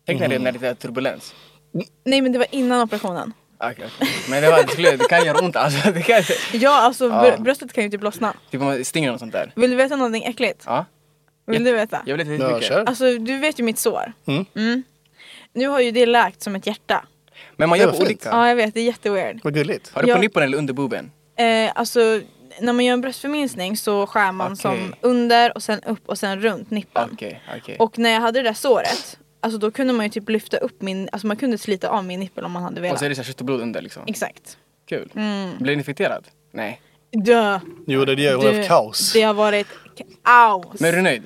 Tänk när det,
Mm.
när det är turbulens. Ah,
Nej men det var innan operationen.
Okej, okej. Men det, var, det, skulle, det kan göra ont alltså. (laughs) Det kan,
Ja alltså
Ah.
br- bröstet kan ju typ lossna.
typ om man stinger och sånt där.
Vill du veta någonting äckligt?
Ja.
Vill du veta?
Jag vill inte
Ja,
mycket.
kör.
Alltså du vet ju mitt sår.
Mm.
Nu har ju det läkt som ett hjärta.
Men man
Det
gör
var
på
fint.
olika.
Ja jag vet, det är jätteweird.
Vad gulligt.
Har du på
Ja.
nippon eller under boben?
Eh, alltså när man gör en bröstförminskning så skär man
Okej.
som under och sen upp och sen runt nippan.
Okej, okej.
Och när jag hade det där såret, alltså då kunde man ju typ lyfta upp min, alltså man kunde slita av min nippel om man hade
Och
velat.
så är det så här kött och blod under liksom.
Exakt.
Kul. Blir den infekterad? Nej.
Dö.
Jo, det är det. Hon har haft kaos.
Det har varit kaos.
Men är du nöjd?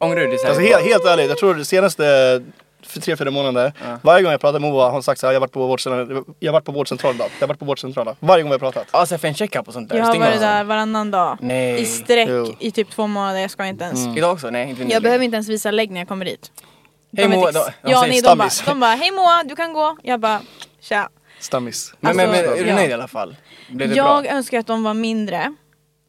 Ångrar du dig? så här?
Alltså helt, helt ärligt, jag tror det senaste för tre, fyra månader. Varje gång jag pratar med Moa har hon sagt så här, jag har varit på vårdcentralen, jag har varit på vårdcentralen idag. Jag har varit på vårdcentralen. Varje gång vi har pratat.
Alltså för en checkup och sånt där.
Jag har
Stinger
varit
och sånt.
där varannan dag.
Nej.
I sträck
Jo.
i typ två månader, jag ska inte ens.
Idag också? Nej, inte
Jag behöver inte ens visa lägg när jag kommer dit. De
Hej
är
Moa,
tics.
de- de
Ja,
säger
nej, de bara,
stammis.
de bara, hej Moa, du kan gå. Jag bara, tja.
Stammis.
Men, men, men
Alltså,
är du
ja.
nöjd i alla fall? Blev det
Jag
bra?
önskar att de var mindre.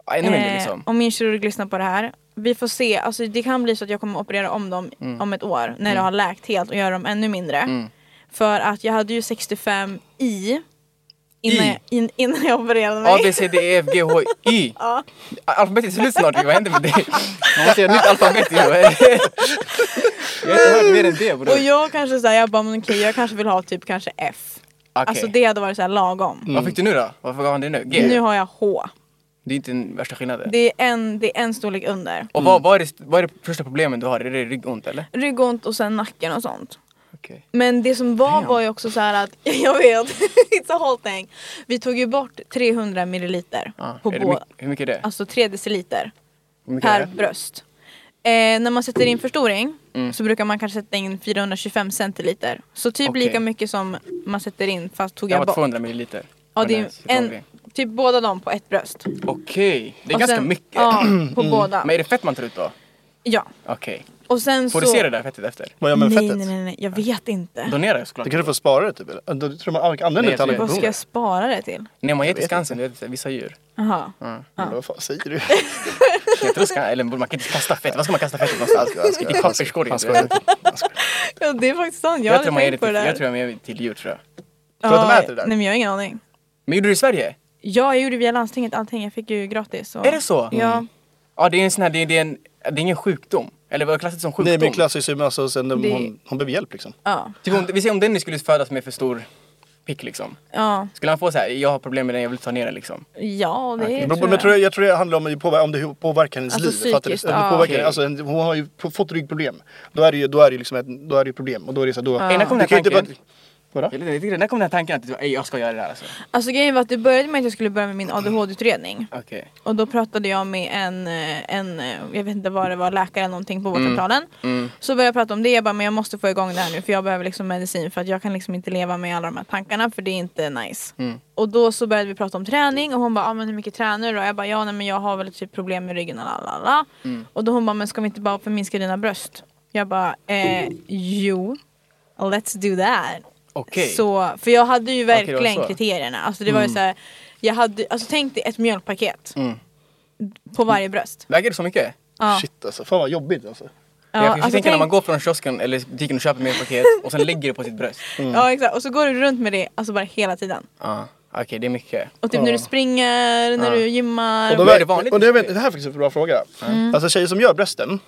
Ja, Ännu mindre
Eh,
liksom.
Om min kirurg lyssnar på det här. Vi får se, alltså, det kan bli så att jag kommer operera om dem
Mm.
om ett år när det har läkt helt och göra dem ännu mindre. För att jag hade ju 65 i innan,
I?
Jag, in, innan jag opererade mig.
A, B, C, D, E, F, G, H, Y.
(laughs) Ja.
Alfabetet är slut snart, vad händer med dig?
(laughs)
Man måste göra nytt alfabet ju. Jag har inte hört mer än det
(laughs)
bror.
Och jag kanske såhär, jag bara men okej jag kanske vill ha typ kanske F.
Okej. Mm.
Alltså det hade varit såhär lagom.
Vad fick du nu då? Varför gav han det nu? G?
Nu har jag H.
Det är inte den värsta skillnaden.
Det är en, det är en storlek under.
Och vad, vad, är det, vad är det första problemet du har? Är det ryggont eller?
Ryggont och sen nacken och sånt.
Okej.
Men det som var var ju också så här att, (laughs) jag vet, it's a whole thing. Vi tog ju bort 300 milliliter
Ja,
på
Ah, är det
båda,
mycket- hur mycket är det?
alltså 3 deciliter
Hur mycket är
per
det?
bröst. Eh, när man sätter
Mm.
in förstoring så brukar man kanske sätta in 425 centiliter. Så typ
Okej.
lika mycket som man sätter in fast tog
Jag
jag,
har
bort.
200 milliliter.
Ja,
Men
det
den
är
sitter
en,
aldrig.
typ båda dem på ett bröst. Det
Okej, det är ganska mycket. (clears throat) Mm.
Ja, på båda.
Men är det fett man tar ut då?
Ja.
Okej.
Och sen
Får
så...
du se det där fettet efter?
Vad gör man
Nej,
med
nej,
fettet?
nej, nej, jag vet inte.
Donera såklart.
Du kanske får spara det typ eller? Då tror jag man använder
Nej,
det till alla
jag
Vad ska
operationer.
jag spara det till?
Nej man ger till Skansen, du vet vissa djur.
Jaha.
Men Vad fan säger
(laughs)
du?
Jag tror Skansen, eller man kan inte kasta fett. Var ska man kasta fettet någonstans?
Jag skojar,
I
jag
papperskorgen.
skojar.
du vet.
Ja, det är faktiskt sant. Jag,
Jag
hade
tror man ger det
tänkt på
till,
det där.
jag tror jag ger det till djur tror jag.
Tror du att de
Ja,
äter det där?
Nej, men jag har ingen aning.
Men gjorde du det i Sverige?
Ja, jag gjorde via landstinget allting. Jag fick ju gratis. Så.
Är det så?
Ja.
Mm.
Ja det är en sån här, det är, det är, en, det är ingen sjukdom. Eller vad klassas som sjukdom?
Nej men klassiskt som alltså, sen de,
Det-
hon, hon behöver hjälp liksom.
Ja.
typ om, vi säger om den nu skulle födas med för stor pick liksom.
Ja.
Skulle han få så här, jag har problem med den, jag vill ta ner den liksom.
Ja, det
Men
tror
men jag tror, jag tror det handlar om, det påver- om det påverkar hennes
Alltså
liv. fattar du?
psykiskt,
Om det
ja.
påverkar,
Okej.
alltså, en- hon har ju p- fått ryggproblem. Då är det ju, då är det ju liksom ett, då är det ju problem. Och då är det så här, då...
Innan kom den
Du kan
här
ju inte
tanken.
Vadå?
Eller, jag tycker- När kom den här tanken att du, "Ey, jag ska göra det här alltså?
Alltså grejen var att det började med att jag skulle börja med min ADHD-utredning.
Okej.
Och då pratade jag med en, eh, en eh, jag vet inte vad det var, läkare eller någonting på vårdcentralen. Så började jag prata om det, jag bara men jag måste få igång det här nu för jag behöver liksom medicin för att jag kan liksom inte leva med alla de här tankarna för det är inte nice. Och då så började vi prata om träning och hon bara ah, men hur mycket tränar du då? Jag bara ja nej, men jag har väl typ problem med ryggen och lalala. Och då hon bara men ska vi inte bara förminska dina bröst? Jag bara eh, jo, let's do that.
Okej.
Så, för jag hade ju
Okej, det var
verkligen
så.
kriterierna. Alltså det var
Mm.
ju så här, jag hade, alltså tänk dig ett mjölkpaket. På varje bröst.
Väger det så mycket?
Shit alltså, fan vad jobbigt alltså.
Ja,
jag
alltså,
försöker tänka när
tänk-
man går från kiosken eller butiken och köper mer paket och sen lägger det på sitt bröst. Mm.
Mm.
Ja exakt, och så går du runt med det alltså bara hela tiden.
Ja, Okej, det är mycket.
Och typ när du springer, när du gymmar.
Och, då
Men är
väger,
det vanligt
och det,
i
jag vet,
Sverige?
det här är faktiskt en bra fråga.
Mm.
Alltså tjejer som gör brösten,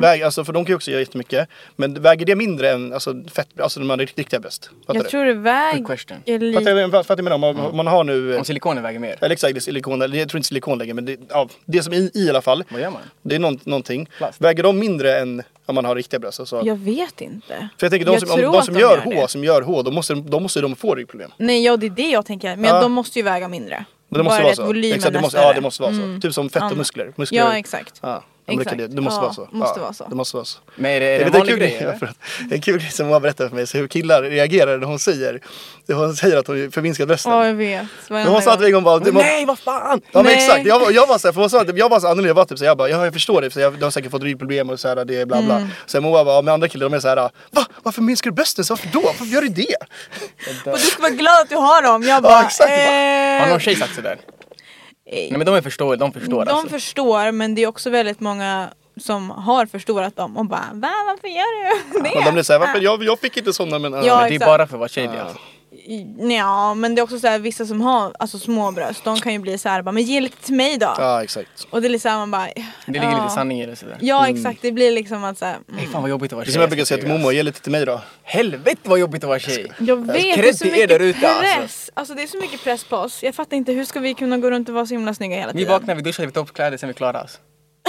väger, alltså, för de kan ju också göra jättemycket. Men väger det mindre än alltså, fett, alltså de här rikt- riktiga bröst? Fattar
jag
du?
tror det
Good question.
väger
Fattar
lite.
jag fattar jag menar? Om
Mm.
man, om man har nu... eh,
Om silikonen väger mer?
Eller exakt, det är silikon, eller jag tror inte silikon längre men det, ja, det som är i, i alla fall.
Vad gör man?
Det är någon, någonting.
Plast.
Väger de mindre än om man har riktiga bröst? Alltså,
Jag vet inte.
För jag tänker de
jag
som, om,
tror
de
att
som
de
gör
gör
H,
det.
som gör H, då måste, de- då måste de få ryggproblem.
Nej ja det är det jag tänker. Men
Ja.
de måste ju väga mindre.
Men det måste
bara
vara
att
så.
volymen
Exakt, det
är
måste,
större.
ja, det måste vara så. Typ som fett och
Anna.
muskler. muskler.
Mm. Ja exakt.
Ja, de brukar Ah, det. det måste
Ja,
vara så.
måste
ja,
vara så.
Det måste vara så.
Men är det, är
(laughs)
det
Jag vet,
en
en,
vanlig
kul grej,
grej?
ja,
eller?
förlåt. en kul grej som hon berättade för mig, så hur killar reagerar när hon säger, hon säger att hon förminskar brösten.
Ja jag vet.
Men hon sa att en gång bara... det var-
Nej, vad fan!
Ja men
Nej.
exakt, jag, var- jag var såhär, för hon sa att jag var så annorlunda, jag var typ såhär, jag bara, ja, jag förstår det, för jag, du har säkert fått ryggproblem och såhär, det är bla
Mm.
bla. Sen Moa bara, ja, men andra killar de är såhär, va? Varför minskar du brösten? Så varför då? Varför gör du det?
Och du ska vara glad att du har dem. Jag bara,
exakt.
Har någon
eh,
tjej sagt sådär? Nej men de är förstår, de förstår
de
alltså.
förstår men det är också väldigt många som har förstorat dem och bara Va, varför gör du det?
Och de blir såhär, varför? Jag, jag fick inte sådana men... äh."
Ja,
men det är
exakt.
bara för att vara tjej det alltså.
Ja men det är också så här, vissa som har alltså, små bröst de kan ju bli så här, bara, men ge lite till mig då.
ja exakt.
Och det är lite såhär man bara
Det ligger lite sanning i det sådär.
Ja exakt det blir liksom att såhär mm.
Fy fan vad jobbigt att vara
Det är
tjej.
som jag brukar säga till
alltså.
Momo, ge lite till mig då.
Helvete vad jobbigt att vara tjej.
Jag vet,
Kredd
det är så
Alltså, till er
mycket
där ute, alltså.
press. Alltså. det är så mycket press på oss. Jag fattar inte hur ska vi kunna gå runt och vara så himla snygga hela
Vi
tiden.
vaknar, vi duschar, vi tar upp kläder, sen är vi klara alltså.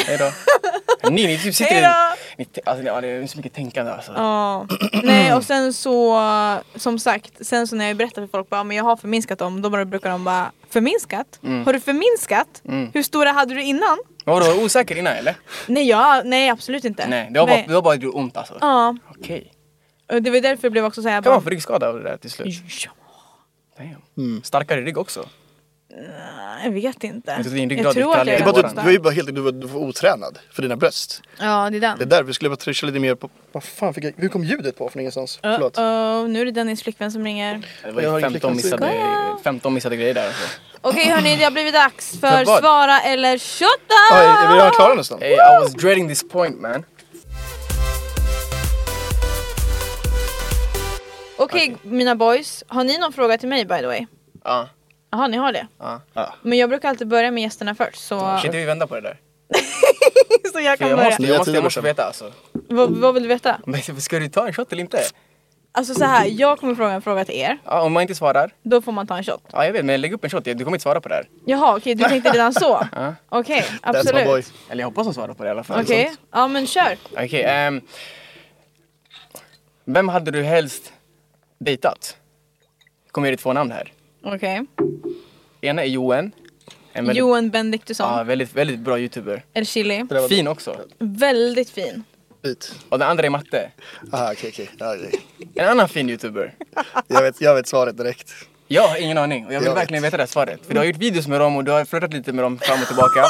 Hejdå.
(laughs)
ni, ni typ sitter
Hejdå.
Ni, t- alltså, ni, ja, det är så mycket tänkande alltså.
(clears throat)
Ja, nej och sen så som sagt, sen så när jag berättar för folk bara, men jag har förminskat dem, då bara brukar de bara förminskat?
Mm.
Har du förminskat? Hur stora hade du innan?
Men vadå, var du osäker innan eller?
Nej, jag, nej absolut inte.
Nej, det var bara, det var bara att det gjorde ont alltså.
Ja,
Okej.
Och det var därför det blev också så här...
Kan
bara-
man få ryggskada av det där till slut?
Ja,
Damn. Starkare rygg också.
jag vet inte.
Jag tror din ryggrad
jag tror att jag
gick
Det
är
var, du,
Våran.
du var ju bara helt du var, du var otränad för dina bröst.
Ja, det är den.
Det är därför vi skulle bara trycka lite mer på... Vad fan fick jag... Hur kom ljudet på från ingenstans? Förlåt.
Uh-oh, nu är det Dennis flickvän som ringer.
Det
Jag har
var ju
ingen
15
flickvän.
missade, 15 missade grejer där. Alltså.
Okej hörni, det har blivit dags för
För vad?
svara eller kötta!
Ah, är, är vi redan klara nästan?
Hey, I was dreading this point man.
Okej mina boys, har ni någon fråga till mig by the way?
Ja,
Jaha, ni har det?
ja.
Men jag brukar alltid börja med gästerna först så,
Kan inte vi vända på det där?
(laughs) så jag kan
Jag
börja.
måste,
Nya
jag måste,
tider
jag måste
sen.
veta alltså.
Vad, vad vill du veta?
Men ska du ta en shot eller inte?
Alltså så här, jag kommer fråga en fråga till er,
Ja, om man inte svarar.
då får man ta en shot.
Ja, jag vet, men lägg upp en shot. Du kommer inte svara på det här.
Jaha okej, du tänkte redan
(laughs)
så?
Ja.
Okej,
That's my boy.
absolut.
Eller jag hoppas hon svarar på det i alla fall.
Okej,
Sånt.
ja men kör.
Okej, ehm, Vem hade du helst dejtat? Jag kommer ge dig två namn här.
Okej.
Ena är Johan. En väldigt,
Johan
ja,
Benediktusson,
väldigt, väldigt bra youtuber.
eller Chili.
Fin också.
Väldigt fin.
Bit.
Och den andra är Matte.
Ah, okej, okej. Ja, okej.
En annan fin youtuber.
Jag vet, jag vet svaret direkt.
Jag har ingen aning och jag vill
Jag vet.
verkligen veta det här svaret. För du har gjort videos med dem och du har flörtat lite med dem fram och tillbaka.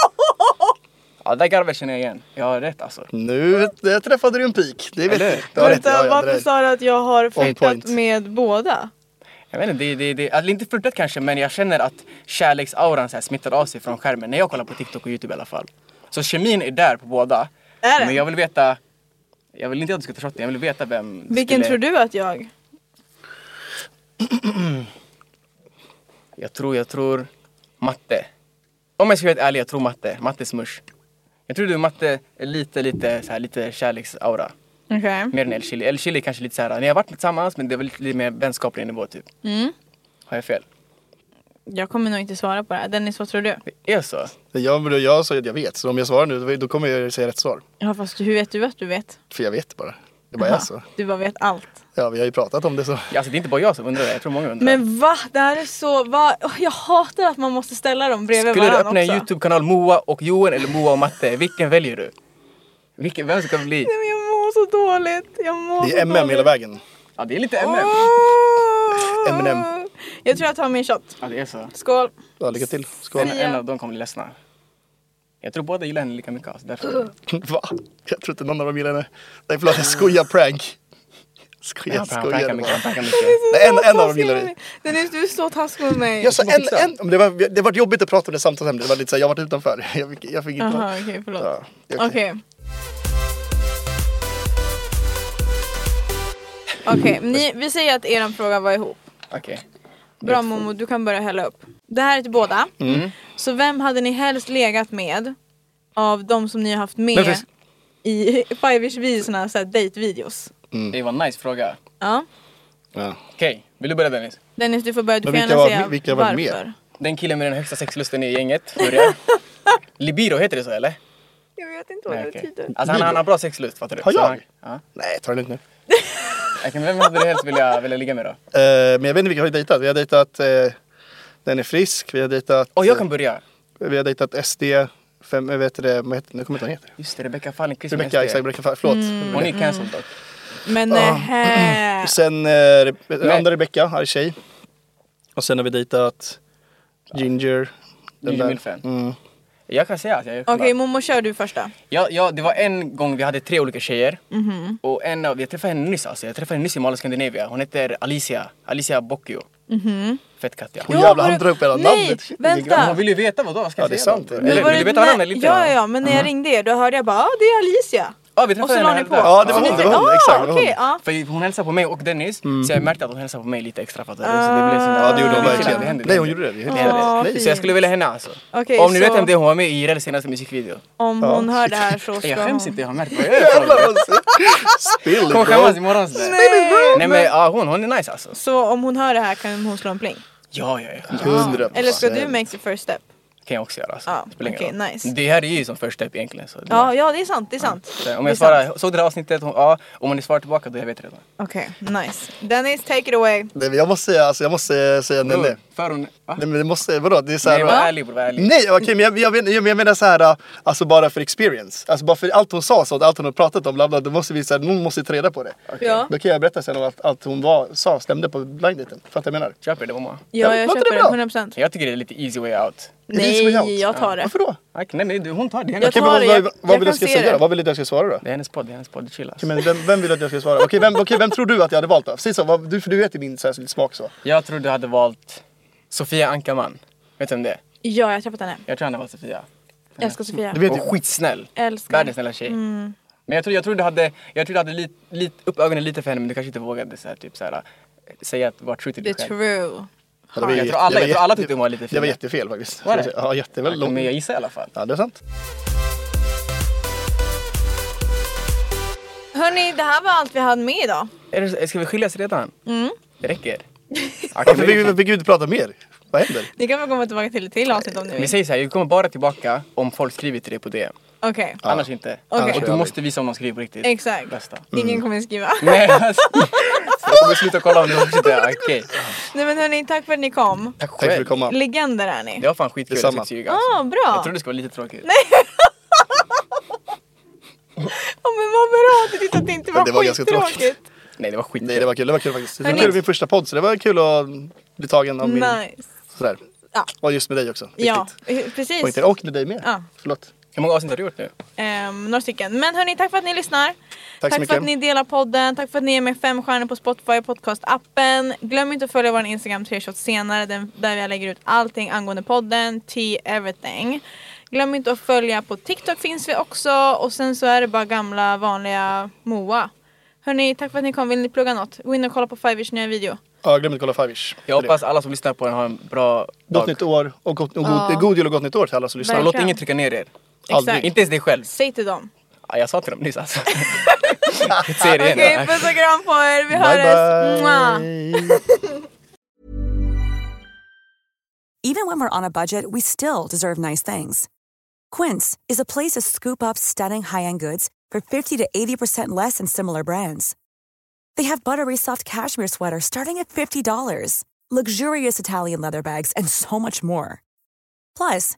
Ja, det där garvet känner jag igen. Jag har rätt alltså.
Nu där träffade du en pik. Det vet
Eller?
du. Du har rätt.
Vänta,
Ja, ja, det
varför
där-
sa du att jag har flörtat
point.
med båda?
Jag vet inte, det, det, det, eller inte flörtat kanske men jag känner att kärleksauran så här smittar av sig från skärmen när jag kollar på TikTok och YouTube i alla fall. Så kemin är där på båda.
Är
Men
det?
jag vill veta, jag vill inte att du ska ta shotten, jag vill veta vem du
Vilken
skulle-
tror du att jag?
Jag tror, jag tror matte. Om jag ska vara helt ärlig, jag tror matte. Matte smush. Jag tror du matte är lite, lite så här, lite kärleksaura.
Okej.
Mer än El Chili. El Chili är kanske lite så här, ni har varit tillsammans men det är väl lite mer vänskaplig nivå typ.
Mm.
Har jag fel?
Jag kommer nog inte svara på det här. Dennis, vad tror du?
Det är så?
Jag, men jag sa ju att jag vet, så om jag svarar nu då kommer jag säga rätt svar.
Ja fast hur vet du att du vet?
För jag vet bara. Det bara är så.
Du bara vet allt.
Ja, vi har ju pratat om det så.
Ja, Alltså det är inte bara jag som undrar det, jag tror många undrar.
Men va? Det här är så... Va? Åh, Jag hatar att man måste ställa dem bredvid
Skulle du
varandra
öppna en
också.
YouTube-kanal Moa och Johan eller Moa och Matte? Vilken väljer du? Vilken, vem ska bli?
Nej, men jag mår så dåligt. Jag mår
Det
så
är MM
dåligt.
hela vägen.
Ja, det är lite MM.
Åh!
M&M.
Jag tror jag tar min shot.
Ja, det är så.
Skål.
Ja, lycka till. Skål. (laughs)
En, en av dem kommer bli ledsna. Jag tror båda gillar henne lika mycket. Alltså, därför.
Va? Jag tror inte någon av dem gillar henne. Nej, förlåt. Jag skojar prank. Skojar,
Han han prankar
skojar.
mycket, han prankar mycket.
Nej, en, en av dem gillar dig.
dig. Dennis, du är så taskig mot mig.
Jag sa en, en, men det, var, det var jobbigt att prata om det samtalsämnet, det var lite såhär, jag var utanför. (laughs) Jag fick, jag fick inte
Jaha,
vara-
okej, förlåt.
Ja, det är okej.
Okej. Okej, ni- vi säger att er fråga var ihop.
Okej.
Bra Momo, du kan börja hälla upp. Det här är till båda.
Mm.
Mm. Så vem hade ni helst legat med av de som ni har haft
Men
med
precis.
i (laughs) Five-ish-videorna, såhär dejtvideos?
Det var en nice fråga.
Ja.
Ja.
Okej, vill du börja Dennis?
Dennis du får börja, du får
Men vilka
gärna
var-
säga
vilka var
varför.
med?
Den killen med den högsta sexlusten i gänget. börjar. Libido heter det så eller?
Jag vet inte vad det
okej.
betyder.
Alltså han, han har bra sexlust fattar du.
Har
Så
jag?
Han, ja.
Nej, ta det lugnt nu.
Okej, men vem hade du helst vilja, vilja ligga med då?
Eh, men jag vet inte vilka vi har dejtat. Vi har dejtat eh, Den är frisk, vi har dejtat,
Åh jag kan börja.
eh, vi har dejtat SD, fem, eh, vad heter det, vad heter, nu kommer jag inte ihåg vad han heter.
Just det, Rebecca Fallenkvist. som
Rebecka,
SD.
exakt, Rebecka, förlåt.
Hon är cancelled dock.
Ah.
Men eh, nähä.
Sen eh, Re-
Nej.
andra Rebecka, arg tjej. Och sen har vi dejtat Ginger. den
Ginger
där.
Milfen. (laughs)
Mm.
Jag kan säga att jag
(laughs) Okej Momo kör du första.
Ja, ja, det var en gång vi hade tre olika tjejer.
Mhm.
Och en av, jag träffade henne nyss alltså. Jag träffade henne nyss i Mall of Scandinavia. Hon heter Alicia, Alicia Bocchio. Fett katt ja.
Hon jävlar,
var
han
du-
drar upp hela
Nej,
namnet. Shit, vilken
Mhm. vänta.
Hon vill ju veta vadå, vad ska jag
Ja, det är
säga?
sant.
då?
Nu
Eller,
var
vill du
det-
veta vad namnet är
nej,
lite?
Ja, ja, ja, men
Mm.
när jag ringde er då hörde jag bara ah, det är Alicia.
Ja, vi
Och så
träffade
la
henne
ni
där.
på.
Ja, det var
Så
hon,
tänkte
det var
jag,
hon, exakt, det
Ah,
var hon.
okej, ja.
För hon hälsade på mig och Dennis, så jag märkte att hon hälsade på mig lite extra fattar du? Så det blev sån där...
Ja, det gjorde hon
Det händer,
verkligen.
det händer, det
Nej, hon
händer.
gjorde det. det.
Det händer.
Ah,
Så jag skulle
fint.
vilja henne alltså.
Okej,
Om ni vet
så-
vem det är, hon var med i Irels senaste musikvideo.
Om hon hör det här så ska
Jag
hon.
skäms inte, jag har märkt vad
(laughs)
jag är.
Spill,
Kommer
bro.
skämmas imorgon. sådär. Nej men ja, hon, hon är nice alltså.
Så om hon hör det här kan hon slå en pling.
Ja, ja, ja.
100%.
Alltså,
Eller ska du make the first step?
kan jag också göra. Alltså.
Ja,
Det spelar ingen
okej,
roll.
nice.
Det här är ju som första step egentligen. Så det
Ja, ja det är sant, det är sant.
Så om
Det är
jag svarar, såg det här avsnittet? Hon, ja. Om ni svarar tillbaka då jag vet redan.
Okej, nice. Dennis, take it away.
Nej, men jag måste säga, alltså, jag måste säga nej, nej.
För hon, va?
Nej men det måste, vadå? Det är så här,
Nej var ärlig bror, var ärlig.
Nej, okej, men jag, jag, men- jag, men jag menar så här, äh, alltså bara för experience. Alltså bara för allt hon sa, så, allt hon har pratat om, bla bla, då måste vi, så här, någon måste ta reda på det.
Ja.
Då kan jag berätta sen om att allt hon var, sa stämde på blind daten. Fattar du vad jag menar?
Köper det mamma.
Ja, jag
Låter det
köper det
bra?
100%.
Jag tycker det är lite easy way out.
Är det easy way out?
Nej, jag tar det.
Varför då?
Okej, Nej men det- hon tar det. Det är
Jag
hennes,
Okej, men
tar det, jag-
vad, vad, vad
jag
vill du
kan
att jag
se
ska säga
det.
då? Vad vill du att jag ska svara då?
det är hennes podd, det är hennes podd. Chill alltså.
Okej, men vem, vem vill du att jag ska svara? Okej, vem, okej, vem tror du att jag hade valt då? Säg så, vad, du, för du vet ju min så här, smak så.
Jag tror du hade valt Sofia Ankarman. Vet du vem det är?
Ja, jag har träffat henne.
Jag tror han hade valt Sofia.
Jag älskar
Mm.
Sofia.
Du vet ju.
Och typ skitsnäll.
Älskar. Mm.
Världens snälla tjej. Men jag tror, jag tror du hade, jag tror du hade lit, lit, upp ögonen lite för henne men du kanske inte vågade så här, typ, så här, äh, säga att vara true till
The
dig själv.
true.
Det var
Jag
jätte-
tror alla,
det var
jag tror alla
jätte-
tyckte hon var lite fin.
Det var jättefel faktiskt.
Var det?
Ja,
Men
jätteväl
jag
långt.
gissar i alla fall.
Ja, det är sant.
Hörni, det här var allt vi hade med idag.
Är det, ska vi skiljas redan?
Mm.
Det
(laughs)
räcker.
Varför fick vi- fick vi inte prata mer? Vad händer?
Ni kan väl komma tillbaka till ett till avsnitt om ni
Vi
vill.
säger så här, vi kommer bara tillbaka om folk skriver till dig på DM.
Okej,
Annars inte.
Okej.
Och du måste visa om de skriver på riktigt.
exakt.
Bästa.
Ingen kommer skriva.
Mm. Nej, alltså. Så Jag kommer sluta kolla om du fortsätter. göra. Okej.
(laughs) Nej men hörni, tack för att ni kom.
Tack själv.
Tack för att du kom.
Legender är ni.
Det var fan skitkul att
Detsamma.
sitta ljuga. Alltså.
Ah, bra.
Jag trodde det skulle vara lite tråkigt.
Ja, men vad bra att du tyckte att det inte var,
Det var ganska
skittråkigt.
Nej, det var skitkul.
Nej det var kul, det var kul faktiskt. Det var
Hörni.
kul med min första podd så det var kul att bli tagen av min...
Nice.
Sådär.
Ja.
Och just med dig också. Viktigt.
Ja,
Och,
precis.
inte, och med dig med.
Ja.
Förlåt.
Hur många avsnitt har du gjort nu?
Ehm, några stycken. Men hörni, tack för att ni lyssnar.
så
för
mycket.
att ni delar podden. Tack för att ni är med fem stjärnor på Spotify och podcastappen. Glöm inte att följa vår Instagram tre shots senare den, där jag lägger ut allting angående podden. Tea everything. Glöm inte att följa på TikTok finns vi också. Och sen så är det bara gamla vanliga Moa. Hörni, tack för att ni kom. Vill ni plugga något? Gå in och kolla på Fivers nya video.
Ja, glöm inte att kolla Fivish.
Jag hoppas alla som lyssnar på den har en bra
Gott
dag.
nytt år och, gott, och god, god jul och gott nytt år till alla som lyssnar.
Och låt
Verkligen.
ingen trycka ner er.
Aldrig.
Inte ens dig själv.
Säg till dem.
Ja, jag sa till dem
(laughs)
nyss alltså. Jag säger det
Okej,
igen.
puss och kram på er. Vi
Bye
hörs. Mua.
bye.
Even when we're on a budget, we still deserve nice things. Quince is a place to scoop up stunning high-end goods for 50 to 80% less than similar brands. They have buttery soft cashmere sweaters starting at $50, luxurious Italian leather bags, and so much more. Plus,